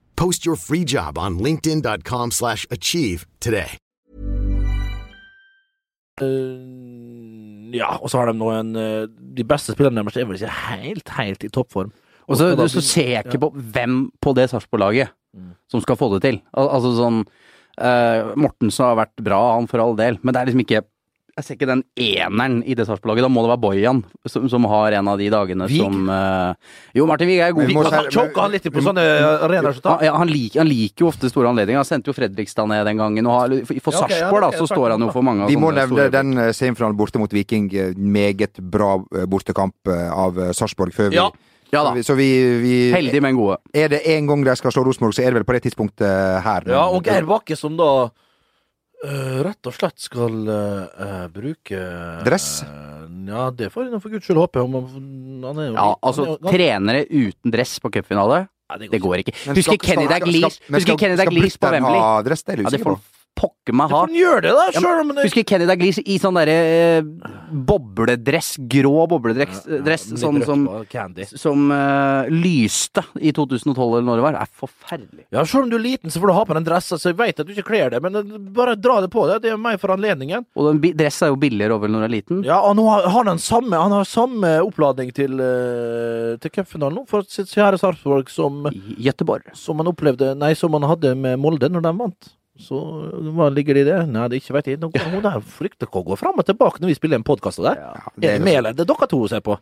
Speaker 11: Post your free job on linkedin.com/achieve slash achieve today.
Speaker 4: Eh, ja, og så har de nå en eh, De beste spillerne deres er vel ikke helt, helt i toppform.
Speaker 5: Og så,
Speaker 4: da-
Speaker 5: så ser jeg ikke på hvem på det Sarpsborg-laget som skal få det til. Al altså sånn eh, Mortensen har vært bra, han for all del, men det er liksom ikke Jeg ser ikke den eneren i det Sarpsborg-laget. Da må det være Bojan som, som har en av de dagene
Speaker 4: Wiig?
Speaker 5: som eh, Jo, Martin Wiig er
Speaker 3: Men
Speaker 5: god.
Speaker 3: vi må
Speaker 5: Han-
Speaker 3: si-
Speaker 4: Ja, Choker han litt på sånne eh, arenaer som
Speaker 5: han,
Speaker 4: tar?
Speaker 5: ja, han, liker, han liker jo ofte store anledninger. Han sendte jo Fredrikstad ned den gangen. Og har, for for
Speaker 4: Ja, ok, ja,
Speaker 5: Sarpsborg,
Speaker 4: det
Speaker 5: da,
Speaker 4: er
Speaker 5: så
Speaker 4: sant,
Speaker 5: står han jo
Speaker 4: da.
Speaker 5: for mange av
Speaker 3: Vi må
Speaker 5: sånne
Speaker 3: nevne den eh, semifinalen borte mot Viking. eh, Meget bra eh, bortekamp eh, av eh, Sarpsborg før vi
Speaker 4: Ja.
Speaker 5: Ja da.
Speaker 3: Så vi, vi
Speaker 5: Heldige, men gode.
Speaker 3: Er det én gang de skal slå Rosenborg, så er det vel på det tidspunktet uh, her.
Speaker 4: Ja,
Speaker 5: Mm.
Speaker 4: og er- Geir Bakke som da eh, rett og slett skal eh, eh, bruke eh,
Speaker 3: Dress?
Speaker 4: ja, det får jeg nå for guds skyld håpe. Om han, han er jo,
Speaker 5: Ja,
Speaker 4: han
Speaker 5: altså,
Speaker 4: er jo-
Speaker 5: trenere uten dress på cupfinale,
Speaker 4: Nei,
Speaker 5: det går ikke.
Speaker 3: Men
Speaker 5: Husker
Speaker 3: skal-
Speaker 5: Kenny
Speaker 3: skal-
Speaker 5: Dalglish
Speaker 3: skal- men
Speaker 5: Husker
Speaker 3: skal-
Speaker 5: Kenny
Speaker 3: skal
Speaker 5: Dalglish på
Speaker 3: Brittan
Speaker 5: Wembley?
Speaker 3: ha dress? Det er jeg
Speaker 5: Ja, det
Speaker 3: usikker på.
Speaker 5: får pokker meg
Speaker 4: Ja,
Speaker 5: ha.
Speaker 4: for han gjør det, da, sjøl om det
Speaker 5: Husker Kenny Dalglish i sånn derre eh, bobledress, grå bobledress, eh, dress,
Speaker 4: Ja, litt
Speaker 5: sånn
Speaker 4: rødt
Speaker 5: som
Speaker 4: på Candy.
Speaker 5: som eh, lyste i 2012 eller når det var. Det er forferdelig.
Speaker 4: Ja, Sjøl om du er liten, så får du ha på den dressen, så altså, jeg veit at du ikke kler det, men eh, bare dra det på deg. Det er meg for anledningen.
Speaker 5: Og den bi- dress er jo billigere over når du er liten.
Speaker 4: Ja, og nå har har han samme, han har samme oppladning til, eh, til cupfinalen nå, for sitt kjære Sarpsborg, som,
Speaker 5: I Gøteborg.
Speaker 4: som han opplevde Nei, som han hadde med Molde når de vant. Så eh, hva ligger det i det? Nei, det er ikke veit jeg. Nå- Hun der frykter hva går fram og tilbake når vi spiller en podkast av det.
Speaker 3: det
Speaker 4: er det med, eller? Det er dere to som ser på.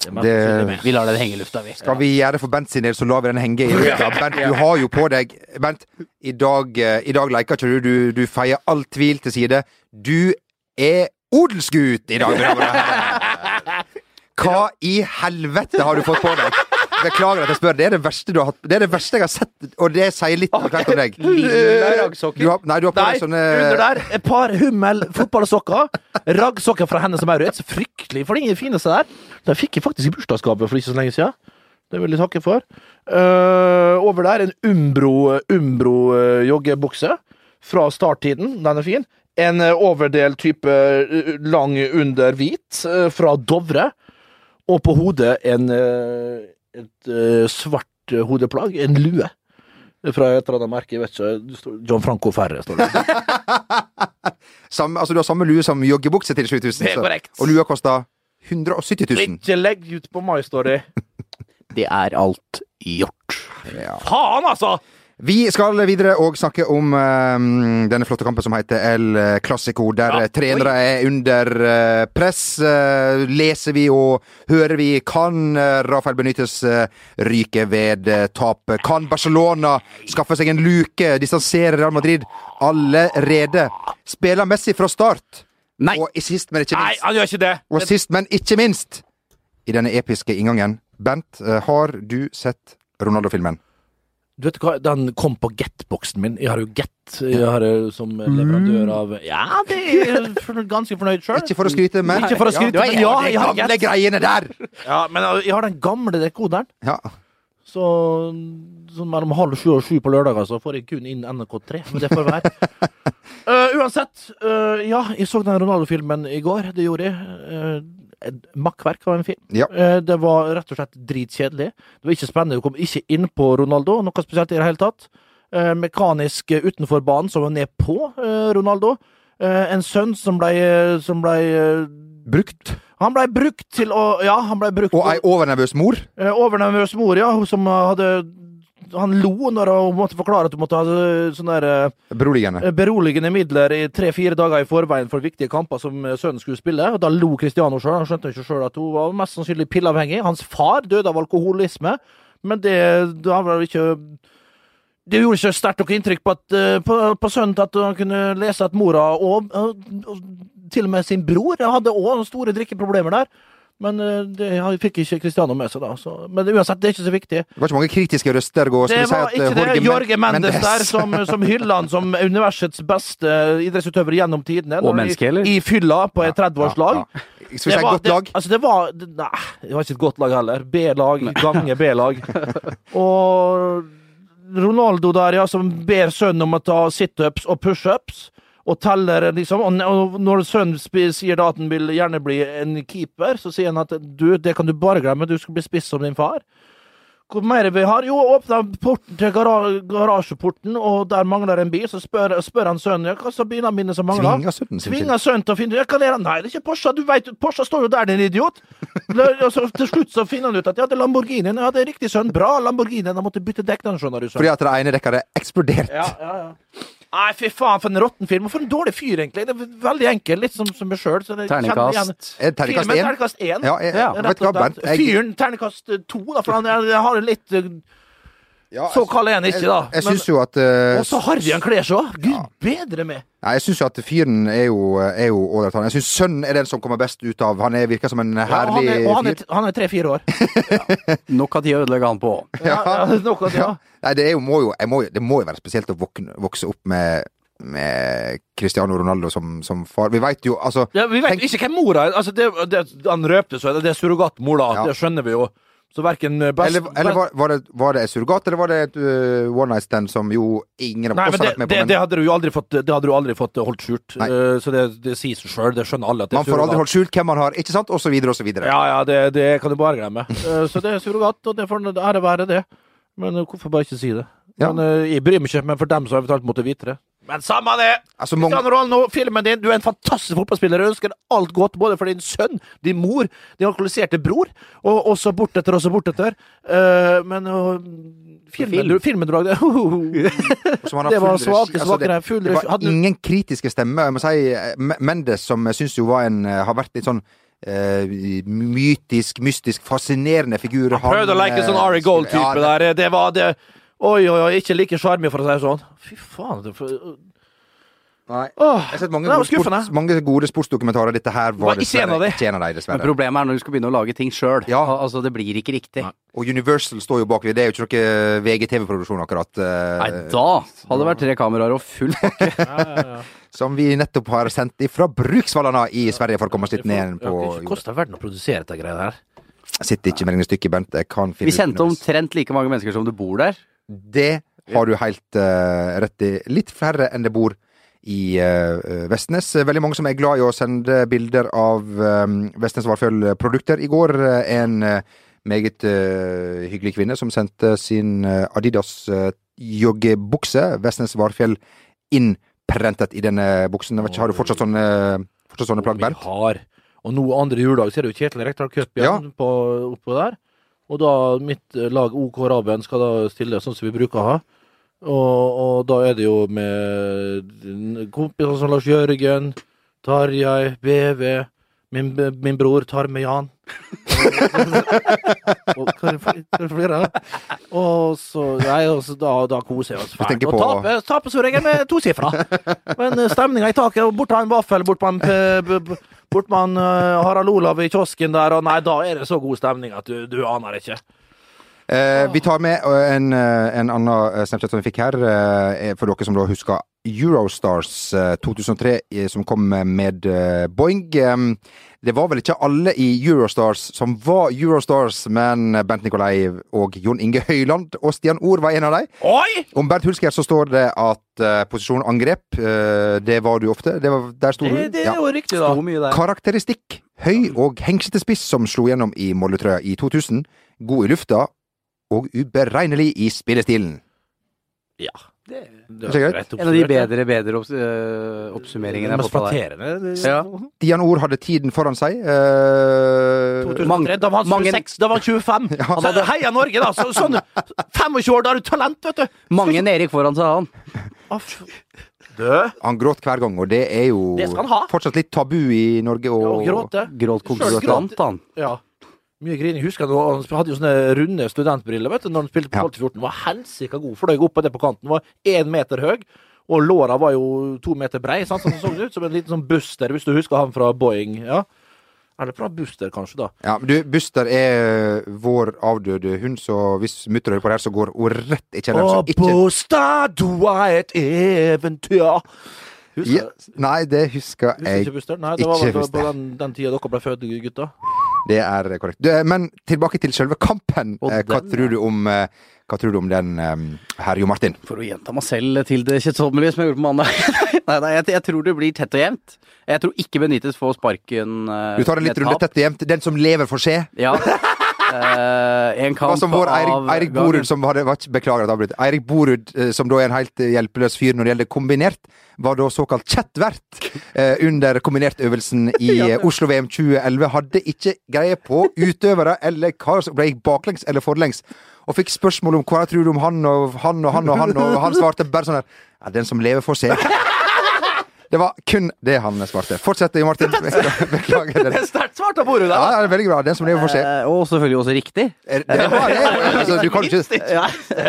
Speaker 4: Det er meg
Speaker 3: Det-
Speaker 4: som sitter med.
Speaker 5: Vi lar den henge i lufta, vi.
Speaker 3: Skal vi gjøre det for Bent sin del, så lar vi den henge i lufta. Bent, du har jo på deg Bent, i dag, eh, i dag leker ikke du. du. Du feier all tvil til side. Du er odelsgutt i dag! mine damer og herrer. Hva i helvete har du fått på deg? Beklager at jeg spør. Det er det verste, du har hatt. Det er det verste jeg har sett, og det sier litt omtrent om deg.
Speaker 4: Lilla raggsokker.
Speaker 3: Du har, nei, du har på
Speaker 4: Nei,
Speaker 3: deg sånne
Speaker 4: under der, et par hummel fotballsokker. Raggsokker fra henne som Maurits. Fryktelig flinke, fine seg der. Den fikk jeg faktisk i bursdagsgave for ikke så lenge siden. Det vil jeg takke for. Eh, over der en Umbro, Umbro eh, joggebukse fra starttiden. Den er fin. En eh, overdel type eh, lang under hvit eh, fra Dovre. Og på hodet en, eh, et eh, svart eh, hodeplagg. En lue. Fra et eller annet merke, jeg vet ikke. det står- John Franco Ferre står det.
Speaker 3: samme, altså, Du har samme lue som joggebukse til 7000.
Speaker 4: Det er
Speaker 3: så-
Speaker 4: korrekt.
Speaker 3: Og lua koster 170 000.
Speaker 4: Ikke legg ut på My Story.
Speaker 3: Det er alt gjort. Ja.
Speaker 4: Faen, altså!
Speaker 3: Vi skal videre og snakke om eh, denne flotte kampen som heter El Clasico, der eh, trenere er under eh, press. Eh, leser vi og hører vi kan eh, Rafael Benitez eh, ryke ved uh, tap? Kan Barcelona skaffe seg en luke, distansere Real Madrid allerede? Spiller Messi fra start? Nei. Og i sist, men ikke
Speaker 4: Nei, altså,
Speaker 3: minst,
Speaker 4: han gjør ikke det.
Speaker 3: og sist, men ikke minst i denne episke inngangen, Bent, eh, har du sett Ronaldo-filmen?
Speaker 4: Du vet hva, den kom på Get-boksen min. Jeg har jo Get jeg har jo som leverandør av Ja, det er jeg fornøyd- ganske fornøyd sjøl.
Speaker 3: Ikke for å skryte, men
Speaker 4: Ikke for å skryte,
Speaker 3: ja,
Speaker 4: men ja,
Speaker 3: de
Speaker 4: jeg har
Speaker 3: gamle
Speaker 4: Get.
Speaker 3: greiene der!
Speaker 4: Ja, men altså, jeg har den gamle dekoderen.
Speaker 3: Ja.
Speaker 4: Så sånn mellom halv sju og sju på lørdager så får jeg kun inn NRK3. Men det får være. Eh, uansett. eh, ja, jeg så den Ronaldo-filmen i går. Det gjorde jeg. Eh, et makkverk av en film.
Speaker 3: Ja.
Speaker 4: Eh, det var rett og slett dritkjedelig. Det var ikke spennende. Du kom ikke inn på Ronaldo, noe spesielt i det hele tatt. Eh, mekanisk eh, utenfor banen, som var ned på eh, Ronaldo. Eh, en sønn som blei som ble, eh,
Speaker 3: Brukt.
Speaker 4: Han blei brukt til å Ja, han blei brukt
Speaker 3: Og ei overnervøs mor.
Speaker 4: Eh, Overnervøs mor, ja. Hun som eh, hadde Han lo når hun måtte forklare at hun måtte ha eh, sånne der, eh,
Speaker 3: Beroligende.
Speaker 4: eh, beroligende midler i tre-fire dager i forveien for viktige kamper som eh, sønnen skulle spille. Og Da lo Cristiano sjøl. Han skjønte jo ikke sjøl at hun var mest sannsynlig pilleavhengig. Hans far døde av alkoholisme, men det, det har vel ikke det gjorde ikke sterkt noe inntrykk på, at, eh, på, på sønnen til at han kunne lese at mora og, eh, og til og med sin bror hadde òg store drikkeproblemer der. Men eh, det han fikk ikke Cristiano med seg, da. Så, men uansett, det er ikke så viktig.
Speaker 3: Det var ikke mange kritiske røster. Gå,
Speaker 4: Det var
Speaker 3: eh,
Speaker 4: ikke det. Jorge Mendes der som, som
Speaker 3: hyller
Speaker 4: hyller han som universets beste eh, idrettsutøver gjennom tidene.
Speaker 5: Og
Speaker 4: Når
Speaker 5: menneske,
Speaker 4: de-
Speaker 5: eller?
Speaker 4: I fylla på et 30-årslag.
Speaker 3: Skal vi si
Speaker 4: var-
Speaker 3: godt lag?
Speaker 4: Det, altså, det var det, Nei, det var ikke et godt lag heller. B-lag ganger B-lag. Og Ronaldo der, ja, som ber sønnen om å ta situps og pushups. Og teller, liksom. Og n- Og når sønnen sp- sier da at han vil gjerne bli en keeper, så sier han at du, det kan du bare glemme, du skal bli spiss som din far. Hvor mer vi har? Jo, åpna porten til gara garasjeporten, og der mangler en bil. Så spør, spør han sønnen ja, hva er bilene mine som mangler.
Speaker 3: Tvinger sønnen sin til-
Speaker 4: Tvinger sønnen til å finne ja, hva er det? Nei, det er ikke Porsche. Du vet, Porsche står jo der, din idiot! Lø- og så til slutt så finner han ut at ja, det er Lamborghinien. Ja, det er riktig, sønn. Bra, Lamborghinien. Han måtte bytte dekk, den skjønner du, sønn.
Speaker 3: Fordi at det ene dekket hadde eksplodert.
Speaker 4: Ja, ja, ja. Nei, fy faen, for en råtten film. Og for en dårlig fyr, egentlig. Det er veldig enkel, litt som, som meg sjøl.
Speaker 3: Terningkast. Eh, terningkast én?
Speaker 4: Terningkast én.
Speaker 3: Ja, jeg- ja, vet
Speaker 4: Rett
Speaker 3: du hva,
Speaker 4: og slett.
Speaker 3: Bernt, jeg-
Speaker 4: Fyren terningkast to, da, for han jeg, jeg har en litt eh, Så kald er han ikke, da.
Speaker 3: Jeg, jeg syns jo at
Speaker 4: Men-
Speaker 3: eh,
Speaker 4: Og så harry han kler seg òg. Gud bedre meg.
Speaker 3: Nei, jeg syns jo at fyren er jo eh, er jo ålreit, han. Jeg syns sønnen er den som kommer best ut av Han er, virker som en
Speaker 4: Ja, han
Speaker 3: herlig
Speaker 4: er, og han er,
Speaker 3: fyr.
Speaker 4: han er tre-fire år.
Speaker 5: Nok av tid å ødelegge han på.
Speaker 4: Ja, ja, nok av det, ja.
Speaker 3: Nei, det, er jo, må jo, jeg må, jo- det må jo være spesielt å våkne, vokse opp med, med Cristiano Ronaldo som, som far. Vi veit jo, altså
Speaker 4: Ja, vi vet ikke hvem mora er. Altså, det, det, han røpte så, det det er surrogatmor, da.
Speaker 3: Ja.
Speaker 4: Det skjønner vi jo. Så verken best
Speaker 3: Eller, eller var, var, det, var det surrogat, eller var det et øh, one night stand som jo ingen av
Speaker 4: Nei,
Speaker 3: oss
Speaker 4: men
Speaker 3: har
Speaker 4: det,
Speaker 3: vært med på?
Speaker 4: det,
Speaker 3: Men
Speaker 4: det hadde du jo aldri fått, det hadde du aldri fått holdt skjult. Eh, så det, det sier seg sjøl. Det skjønner alle. at det er
Speaker 3: man får aldri
Speaker 4: surrogat.
Speaker 3: holdt skjult hvem man har, ikke sant? Og så videre, og så videre.
Speaker 4: Ja, ja, det, det kan du bare glemme. Eh, så det er surrogat, og det får det ære være det. Men eh, hvorfor bare ikke si det?
Speaker 3: Ja.
Speaker 4: Men, eh, jeg bryr meg ikke, men for dem som eventuelt måtte vite det. Men samme det!
Speaker 3: Altså, mange-
Speaker 4: Cristiano Ronaldo, filmen din, du er en fantastisk fotballspiller. Jeg ønsker alt godt både for din sønn, din mor, din alkoholiserte bror, og også bortetter, også bortetter. Eh, men eh, filmen, du- filmen du lagde
Speaker 3: Og så man har
Speaker 4: Det var
Speaker 3: full
Speaker 4: svake,
Speaker 3: regi.
Speaker 4: svake,
Speaker 3: det,
Speaker 4: full
Speaker 3: det
Speaker 4: regi.
Speaker 3: var
Speaker 4: Hadde-
Speaker 3: ingen kritiske stemmer. Jeg må si eh, M- Mendes, som jeg syns jo var en eh, Har vært litt sånn eh, mytisk, mystisk, fascinerende figur. Han,
Speaker 4: Prøvde å leke sånn
Speaker 3: eh,
Speaker 4: Ari Gold-type
Speaker 3: ja, det-
Speaker 4: der. Det var det Oi, oi, oi, ikke like sjarmerende, for å si det sånn. Fy faen. Det, for,
Speaker 3: Nei.
Speaker 4: Åh,
Speaker 3: Jeg har sett mange
Speaker 4: det var
Speaker 3: gode,
Speaker 4: skuffende.
Speaker 3: sports, mange gode sportsdokumentarer. Dette her
Speaker 4: Var
Speaker 3: var
Speaker 4: ikke en av de.
Speaker 3: ikke en av de,
Speaker 5: Men
Speaker 3: dessverre.
Speaker 5: problemet er når du skal begynne å lage ting sjøl. Al- Altså, det blir ikke riktig.
Speaker 3: Og Universal står jo bak ved. Det er jo ikke noe VGTV-produksjon, akkurat. eh,
Speaker 5: Nei, da hadde det vært tre kameraer og full pakke.
Speaker 3: Som vi nettopp har sendt ifra Bruksvallana i Sverige, for å komme oss litt ned på
Speaker 4: Det koster verden å produsere dette greiet her.
Speaker 3: Jeg sitter ikke med regnestykket, Bent. Jeg kan finne
Speaker 5: Vi sendte
Speaker 3: ut
Speaker 5: omtrent like mange mennesker som det bor der.
Speaker 3: Det har du helt eh, rett i. Litt færre enn det bor i eh, Vestnes. Veldig mange som er glad i å sende bilder av eh, Vestnes Varfjøll-produkter. I går eh, en eh, meget eh, hyggelig kvinne som sendte sin eh, Adidas eh, joggebukse, Vestnes Varfjell, innprentet i denne buksen. Jeg vet ikke, har du fortsatt sånne, fortsatt sånne plagg, Bernt?
Speaker 4: Vi har. Og nå andre juledag så er det jo Kjetil Rekdal Cup igjen på, oppå der. Og da mitt eh, lag OK Raben skal da stille sånn som vi bruker å ha. Og, og da er det jo med kompiser som Lars Jørgen, Tarjei, BV Min, b- min bror tar med Jan. og, og, hva er det for- hva er det for flere? og så Nei, og så da, da koser vi oss fælt.
Speaker 3: tenker
Speaker 4: Og
Speaker 3: på-
Speaker 4: taper, taper som regel med tosifra. Men stemninga i taket og Bort med en vaffel, bort med en, p- b- b- bort med en eh, Harald Olav i kiosken der, og nei, da er det så god stemning at du, du aner ikke.
Speaker 3: Eh, vi tar med eh, en, eh, en annen eh, Snapchat som vi fikk her, eh, for dere som da husker Eurostars eh, 2003, eh, som kom eh, med eh, Boing. Eh, Det var vel ikke alle i Eurostars som var Eurostars, men Bent Nikolai og Jon Inge Høyland og Stian Ord var en av dem.
Speaker 4: Oi!
Speaker 3: Om Bernt Hulsker så står det at eh, posisjon angrep, eh, det var du ofte. Det var, der sto du.
Speaker 4: Det, det
Speaker 3: Ja.
Speaker 4: er jo riktig, da.
Speaker 3: Karakteristikk. Høy og hengsete spiss som slo gjennom i Molletrøya i 2000. God i lufta og uberegnelig i spillestilen.
Speaker 4: Ja. Det,
Speaker 3: Det er greit.
Speaker 5: En av de bedre, bedre obs øh, oppsummeringene jeg har fått av deg. Ja.
Speaker 3: Stian Ord hadde tiden foran seg. eh,
Speaker 4: 2003, da var han 26, da var han 25. Han hadde heia Norge, da. Så, sånn 25 år, da har du talent, vet du.
Speaker 5: Mange Erik foran seg, han.
Speaker 3: Han gråt hver gang, og det er jo
Speaker 4: Det skal han ha.
Speaker 3: fortsatt litt tabu i Norge. Og,
Speaker 4: Ja, å gråte.
Speaker 5: Gråt
Speaker 4: Selv gråt. Ja. Mye grining. Husker jeg, han hadde jo sånne runde studentbriller vet du, når han spilte på 12-14. Var helsika god. Fløy opp og ned på kanten. Var én meter høy. Og låra var jo to meter brei, sant? sånn som så det ut som en liten sånn Buster, hvis du husker han fra Boeing. Ja. Er det fra Buster, kanskje, da?
Speaker 3: Ja, men du, Buster er vår avdøde hund, så hvis mutter hører på det her, så går hun rett i kjelleren. så
Speaker 4: Og
Speaker 3: ikke-
Speaker 4: Buster, du er et eventyr. Husker,
Speaker 3: Ja, nei, det husker
Speaker 4: husker
Speaker 3: jeg
Speaker 4: ikke Buster? Nei, det var
Speaker 3: ikke
Speaker 4: vel på-
Speaker 3: Buster.
Speaker 4: på den, den tida dere ble født, gutta.
Speaker 3: Det er korrekt. Du, eh, men tilbake til selve kampen. Eh, Hva tror du om, eh, hva tror du om den, eh, herr Jo Martin?
Speaker 5: For å gjenta meg selv til det kjedsommelige som jeg gjorde på mandag. nei, nei, jeg, jeg tror det blir tett og jevnt. Jeg tror ikke Benitez får sparken øh,
Speaker 3: Du tar en litt
Speaker 5: med
Speaker 3: runde
Speaker 5: tap.
Speaker 3: tett og jevnt. Den som lever, får se.
Speaker 5: Ja. Eh, en
Speaker 3: Det var
Speaker 5: kamp
Speaker 3: som vår Eirik,
Speaker 5: av
Speaker 3: Eirik Borud som hadde vært Beklager at jeg avbryter. Eirik Borud, eh, som da er en helt eh, hjelpeløs fyr når det gjelder kombinert, var da såkalt chat-vert eh, under kombinertøvelsen i eh, Oslo VM 2011. Hadde ikke greie på utøvere eller hva som ble baklengs eller forlengs. Og fikk spørsmål om hva jeg tror om han og han og han og han, og han svarte bare sånn her ja, Den som lever, får se. Det var kun det han svarte. Fortsett, Jo Martin. Beklager.
Speaker 4: Det
Speaker 3: det.
Speaker 4: er sterkt svart av Borud,
Speaker 3: Ja,
Speaker 4: da!
Speaker 3: det er veldig bra. Den som lever, får se.
Speaker 5: Eh, Og selvfølgelig også riktig.
Speaker 3: Det var det. Altså, du kan jo ikke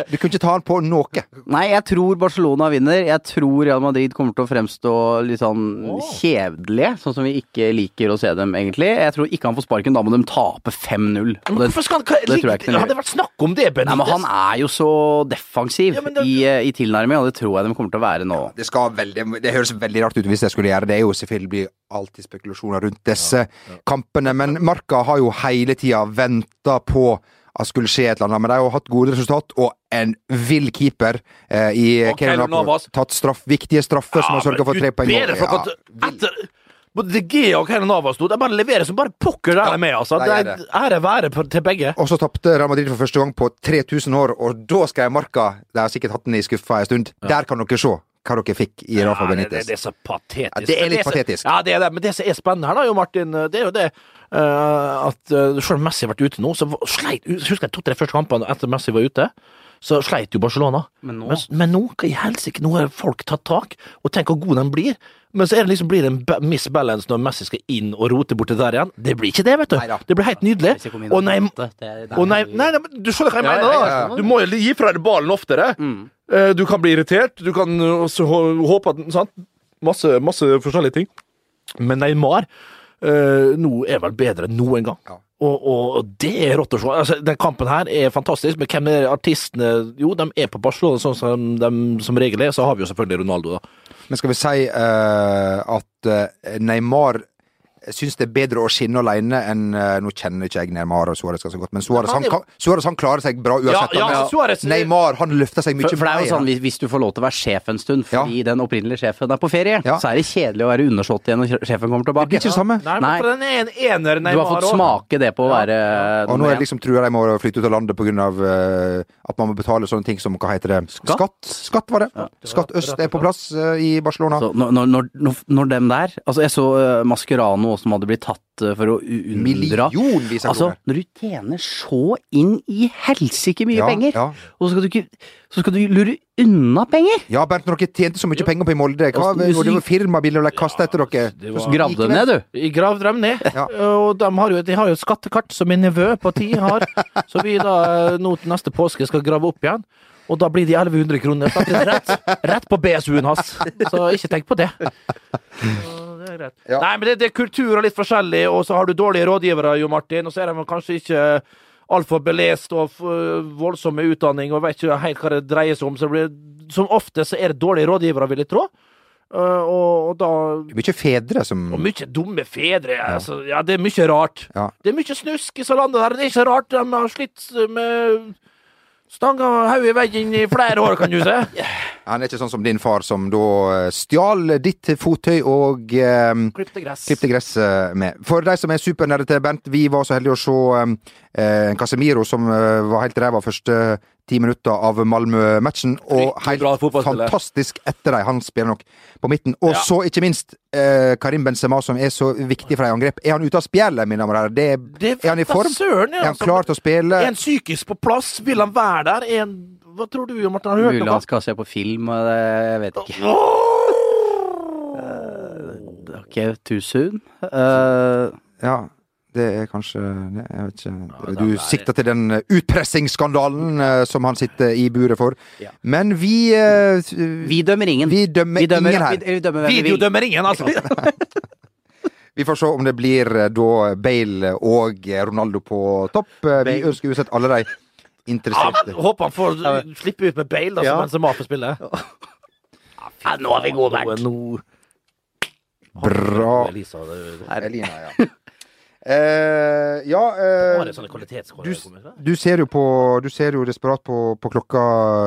Speaker 3: Du kunne ikke ta han på noe.
Speaker 5: Nei, jeg tror Barcelona vinner. Jeg tror Real Madrid kommer til å fremstå litt sånn kjedelige, sånn som vi ikke liker å se dem, egentlig. Jeg tror ikke han får sparken, da må de tape 5-0. Og
Speaker 4: Men
Speaker 5: det-
Speaker 4: hvorfor skal han hva-
Speaker 5: det tror jeg
Speaker 4: Hadde
Speaker 5: ikke de
Speaker 4: det
Speaker 5: gjør.
Speaker 4: vært snakk om det, Benitez?
Speaker 5: Nei, men han er jo så defensiv
Speaker 4: Ja, men det-
Speaker 5: i, eh, i tilnærming, og det tror jeg de kommer til å være nå.
Speaker 3: Det, skal veldig, det høres veldig rart ut hvis jeg skulle gjøre det. Det er jo selvfølgelig blir alltid spekulasjoner rundt disse kampene, men Marka har jo hele tida venta på at skulle skje et eller annet, men de har jo hatt gode resultat, og en vill keeper eh, i
Speaker 4: Og
Speaker 3: Kevin
Speaker 4: Keylor
Speaker 3: Navas.
Speaker 4: Navas.
Speaker 3: Tatt straff, viktige straffer som har sørga for tre poeng.
Speaker 4: Bedre folk at etter både De Gea og Keirin Navas sto. De bare leverer som bare pokker der de er med, altså.
Speaker 3: de
Speaker 4: Det
Speaker 3: gjør
Speaker 4: er
Speaker 3: det.
Speaker 4: ære være på- til begge.
Speaker 3: Og så tapte Real Madrid for første gang på 3000 år, og da skal jeg Marka De har sikkert hatt den i skuffa en stund. Der kan dere se hva dere fikk i Rafa
Speaker 4: Ja, det, det,
Speaker 3: Benitez.
Speaker 4: det er så patetisk.
Speaker 3: Ja, det er
Speaker 4: Men
Speaker 3: litt
Speaker 4: så-
Speaker 3: patetisk.
Speaker 4: Ja, det er det. Men det som er spennende her, da, jo, Martin, det er jo det eh, at eh, selv om Messi har vært ute nå, så var- sleit Husker jeg to-tre første kampene etter Messi var ute? Så sleit jo Barcelona.
Speaker 5: Men nå-
Speaker 4: Men, men nå hva i helsike, nå har folk tatt tak, og tenk hvor god de blir. Men så er det liksom, blir det en ba- misbalance når Messi skal inn og rote borti der igjen. Det blir ikke det, vet du. Det blir helt nydelig.
Speaker 5: Hvis jeg kommer inn
Speaker 4: Og nei,
Speaker 5: åtte, det er-
Speaker 4: å nei, nei, nei, men du skjønner hva jeg
Speaker 5: Ja,
Speaker 4: mener,
Speaker 5: ja,
Speaker 4: da.
Speaker 5: ja, Mm. ja.
Speaker 4: Du må jo gi fra deg ballen oftere. Eh, Du kan bli irritert, du kan også hå- håpe at sant? Masse, masse forskjellige ting. Men Neymar eh, nå er vel bedre enn noen gang. Og, og og det er rått å se. Altså, den kampen her er fantastisk, men hvem er artistene? Jo, de er på Barcelona, sånn som de som regel er. Så har vi jo selvfølgelig Ronaldo, da.
Speaker 3: Men skal vi si eh, at eh, Neymar syns det er bedre å skinne alene enn eh, Nå kjenner ikke jeg Neymar og Suárez ganske godt, men Suárez han,
Speaker 4: Han er-
Speaker 3: kan- Suarez, han klarer seg bra uansett.
Speaker 4: Ja, ja,
Speaker 3: Han-
Speaker 4: Suarez-
Speaker 3: Neymar han løfter seg mye
Speaker 5: For, for det er jo
Speaker 3: mer.
Speaker 5: sånn, hvis, hvis du får lov til å være sjef en stund fordi den opprinnelige sjefen er på ferie, så er det kjedelig å være undersått igjen når sjefen kommer tilbake.
Speaker 3: Det blir ikke det samme.
Speaker 4: Nei, men for den er en ener,
Speaker 5: Du
Speaker 4: Neymar.
Speaker 5: har fått
Speaker 4: også.
Speaker 5: smake det på å være eh,
Speaker 3: Og nå
Speaker 5: nummer
Speaker 3: er
Speaker 5: én.
Speaker 3: det liksom trua de må flytte ut av landet pga. Uh, at man må betale sånne ting som hva heter det? Skatt? Skatt var det. Skatt øst er på plass eh, i Barcelona.
Speaker 5: Så når, når, når, når dem der Altså, jeg så altså eh, Mascherano noe som hadde blitt tatt eh, for å u- unndra
Speaker 3: Millionvis av
Speaker 5: Altså,
Speaker 3: kroner.
Speaker 5: når du tjener så inn i helsike mye
Speaker 3: Ja,
Speaker 5: penger,
Speaker 3: ja.
Speaker 5: og så skal, du ikke, så skal du lure unna penger!
Speaker 3: Ja, Bernt, når dere tjente så mye penger på i Molde, hva,
Speaker 5: Altså,
Speaker 3: og det var firmabiler ble kasta etter dere.
Speaker 5: Grav dem ned, du!
Speaker 4: I Grav dem ned. Eh,
Speaker 3: Ja.
Speaker 4: Og de har, jo, de har jo et skattekart som min nevø på ti har, så vi da eh, nå til neste påske skal grave opp igjen. Og da blir de 1100 kroner satt rett, rett på BSU-en hans, så ikke tenk på det. Så det er greit. Nei, men det, det er kultur og litt forskjellig, og så har du dårlige rådgivere, Jo Martin, og så er de kanskje ikke altfor belest og f- voldsomme i utdanning og vet ikke helt hva det dreier seg om, så det blir, som ofte så er det dårlige rådgivere, vil jeg tro. Eh, Og, og da
Speaker 3: Mye fedre som
Speaker 4: og mye dumme fedre. Altså, ja, det er mye rart.
Speaker 3: Ja.
Speaker 4: Det er mye snusk i så landet der. Det er ikke så rart de har slitt med stanga og hodet i veggen i flere år, kan du se.
Speaker 3: Han er ikke sånn som din far, som da eh, stjal ditt fottøy og eh,
Speaker 4: Klippte gress.
Speaker 3: klippte gress eh, med. For de som er supernerder til Bernt, vi var så heldige å se eh, en Casemiro som eh, var helt ræva første ti minutter av Malmö-matchen, og helt
Speaker 4: bra fotballspiller.
Speaker 3: fantastisk etter dem. Han spiller nok på midten. Og så, ikke minst, eh, Karim Benzema, som er så viktig for dem i angrep. Er han ute av spjeldet, mine damer og herrer? Det,
Speaker 4: Det
Speaker 3: er han i
Speaker 4: da
Speaker 3: form?
Speaker 4: søren, ja,
Speaker 3: er han
Speaker 4: altså.
Speaker 3: klar til å spille?
Speaker 4: Er han psykisk på plass? Vil han være der? Er han Hva tror du, Jon Martin? Har du hørt
Speaker 5: Mulig
Speaker 4: noe?
Speaker 5: han skal se på film, og det, jeg vet ikke. Eh, Ok, too soon. Eh,
Speaker 3: Ja, det er kanskje det, Jeg vet ikke. Du sikter til den eh, utpressingsskandalen eh, som han sitter i buret for. Men vi eh,
Speaker 5: vi dømmer ingen.
Speaker 3: Vi dømmer,
Speaker 5: Vi dømmer,
Speaker 3: ingen
Speaker 5: vi,
Speaker 3: her.
Speaker 5: vi dømmer hvem vi vil.
Speaker 4: Videodømmer ingen, altså!
Speaker 3: Vi får se om det blir eh, da Bale og eh, Ronaldo på topp. Eh, Vi ønsker uansett alle de
Speaker 4: Ja,
Speaker 3: interesserte.
Speaker 4: håper han får slippe ut med Bale, da, som Benzema får spille. Ja, nå er vi gode, Bernt. Nå,
Speaker 3: Bra.
Speaker 4: Elisa, det
Speaker 3: Elina, ja. Eh, ja eh,
Speaker 4: var det sånne kvalitetsskårere. som kommer fra?
Speaker 3: du ser jo på Du ser jo desperat på, på klokka,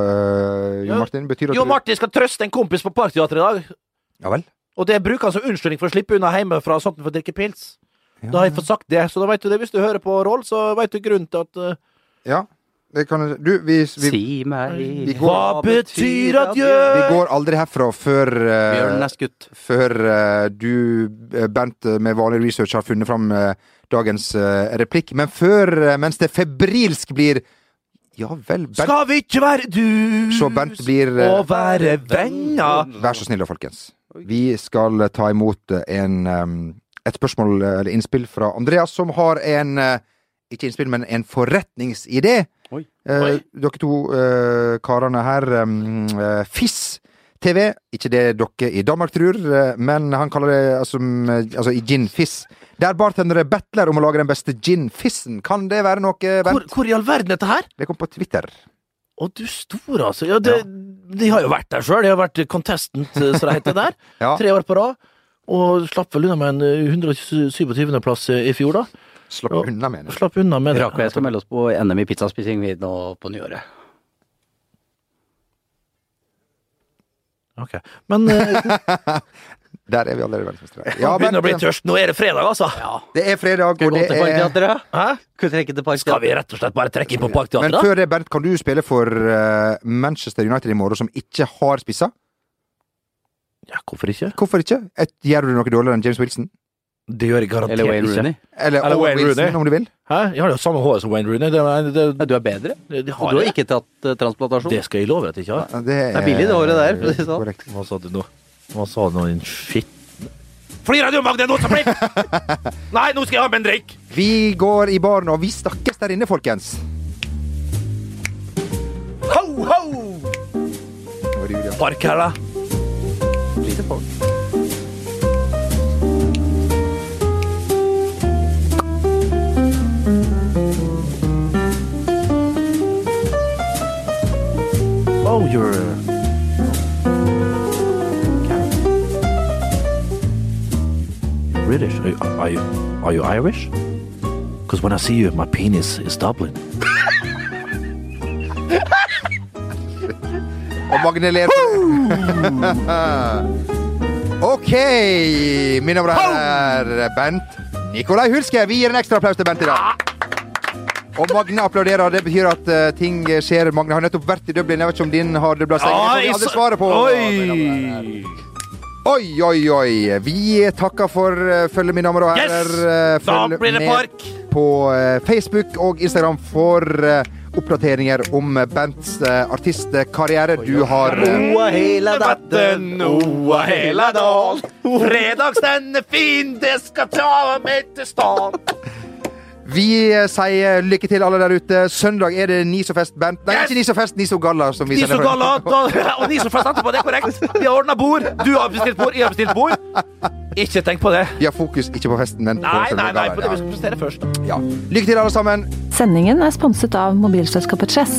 Speaker 3: eh,
Speaker 4: Ja.
Speaker 3: Jo Martin. Betyr det
Speaker 4: Jo
Speaker 3: at du
Speaker 4: Martin skal trøste en kompis på Parkteatret i dag.
Speaker 3: Ja vel?
Speaker 4: Og det bruker han som unnskyldning for å slippe unna hjemmefra og sånt for å drikke pils. Da har jeg fått sagt det, så da vet du det. Hvis du hører på Roll, så vet du grunnen til at eh,
Speaker 3: Ja. Det kan Du, vi, vi
Speaker 5: Si meg
Speaker 3: Vi går-
Speaker 4: Hva betyr adjø?
Speaker 3: Vi går aldri herfra før eh,
Speaker 5: Bjørnen er skutt.
Speaker 3: Før eh, du, eh, Bernt, eh, med vanlig research har funnet fram eh, dagens eh, replikk. Men før, eh, mens det febrilsk blir Ja vel, Bernt.
Speaker 4: Skal vi ikke være dus
Speaker 3: Så Bernt blir eh,
Speaker 4: og være venner?
Speaker 3: Vær så snill da, folkens. Vi skal eh, ta imot eh, en, eh, et spørsmål eh, eller innspill fra Andreas, som har en eh, Ikke innspill, men en forretningsidé.
Speaker 5: Oi.
Speaker 3: Eh,
Speaker 4: Oi.
Speaker 3: dere to eh, karene her um, eh, Fiss TV, ikke det dere i Danmark tror, eh, men han kaller det altså, mm, eh, altså i gin fiss. Der bartendere battler om å lage den beste gin-fissen. Kan det være noe,
Speaker 4: Hvor,
Speaker 3: Bernt?
Speaker 4: hvor i all verden er dette her?
Speaker 3: Det kom på Twitter.
Speaker 4: Å, du store, altså. Ja, det, De har jo vært der sjøl. De har vært contestant, eh, som det heter der.
Speaker 3: Ja.
Speaker 4: Tre år på rad. Og slapp vel unna med en eh, 127.-plass i fjor, da.
Speaker 3: Slapp
Speaker 4: Ja.
Speaker 3: unna, mener jeg.
Speaker 4: Slapp unna med det.
Speaker 5: Rakk og jeg skal melde oss på NM i pizzaspising vi nå på nyåret.
Speaker 4: Ok. Men eh,
Speaker 3: Der er vi allerede verdensmestere.
Speaker 4: Ja,
Speaker 3: Ja,
Speaker 4: begynner å bli
Speaker 3: Bernt,
Speaker 4: tørst. Nå er det fredag, altså.
Speaker 3: det er fredag, og
Speaker 5: Gå
Speaker 3: det
Speaker 5: til
Speaker 3: er
Speaker 5: Parkteatret.
Speaker 4: Hæ?
Speaker 5: Kunne trekke til
Speaker 4: Skal
Speaker 5: Parkteatret.
Speaker 4: vi rett og slett bare trekke inn på
Speaker 3: Men
Speaker 4: Parkteatret?
Speaker 3: før det, Bernt, kan du spille for eh, Manchester United i morgen, som ikke har spissa?
Speaker 4: Ja, hvorfor ikke?
Speaker 3: Hvorfor ikke? Et, gjør du noe dårligere enn James Wilson?
Speaker 4: Det gjør jeg
Speaker 5: Eller
Speaker 4: garantert
Speaker 5: Wayne
Speaker 4: ikke.
Speaker 5: Rooney.
Speaker 3: Eller,
Speaker 4: Eller
Speaker 3: Owen
Speaker 4: Wayne
Speaker 3: Wilson,
Speaker 4: Rooney.
Speaker 3: om du vil?
Speaker 4: Hæ? Jeg har jo samme hår som Wayne Rooney. Det, det,
Speaker 5: Nei, du er bedre.
Speaker 4: det, det
Speaker 5: Du
Speaker 4: har
Speaker 5: har
Speaker 4: jeg.
Speaker 5: ikke tatt eh, transplantasjon.
Speaker 4: Det skal jeg love deg at jeg ikke har.
Speaker 3: Ja, Det eh,
Speaker 5: er billig, det håret der, for å si det sånn.
Speaker 3: Korrekt.
Speaker 4: Hva sa du nå? Hva sa du nå, din skitne Flirer du, Magne? Nå tar jeg Nei, nå skal jeg ha med en drink!
Speaker 3: Vi går i baren, og vi snakkes der inne, folkens.
Speaker 4: Ho, ho!
Speaker 3: Nå er det Julia.
Speaker 4: Park her, da.
Speaker 3: Lite folk.
Speaker 4: Oh, you're British. Are you, are you, are you Irish? Because when I see you, my penis is doubling.
Speaker 3: Og Magne ler. OK, mine damer og herrer. Bent Nikolai Hulske. Vi gir en ekstra applaus til Bent i dag. Og Magne applauderer. Det betyr at eh, ting skjer. Oh, Magne har nettopp vært i Dublin. Jeg vet ikke om din har dubla seg. Det får vi aldri svaret på. mine damer og herrer. Oi, oi, oi. Vi takker for eh, følget, mine damer og
Speaker 4: Yes!
Speaker 3: herrer. Eh,
Speaker 4: Da
Speaker 3: følg
Speaker 4: blir det
Speaker 3: med
Speaker 4: park.
Speaker 3: På eh, Facebook og Instagram for eh, oppdateringer om eh, bands eh, artistkarriere. Du har eh,
Speaker 4: Roa hela datten, roa hela dagen. Fredagsdagen er fin, det skal ta meg til stan.
Speaker 3: Vi eh, sier lykke til, alle der ute. Søndag er det Nisofest Band Nei, ikke Nisofest, Niso Galla. Som vi
Speaker 4: Niso
Speaker 3: sender-
Speaker 4: Galla da- og Niso fra etterpå, det er korrekt. Vi har ordna bord. Du har bestilt bord, jeg har bestilt bord. Ikke tenk på det.
Speaker 3: Vi har fokus ikke på festen, men på
Speaker 4: Nei,
Speaker 3: selve
Speaker 4: nei, nei,
Speaker 3: gallaen,
Speaker 4: for det vi skal prestere først.
Speaker 3: Ja. Lykke til, alle sammen.
Speaker 2: Sendingen er sponset av mobilselskapet Chess.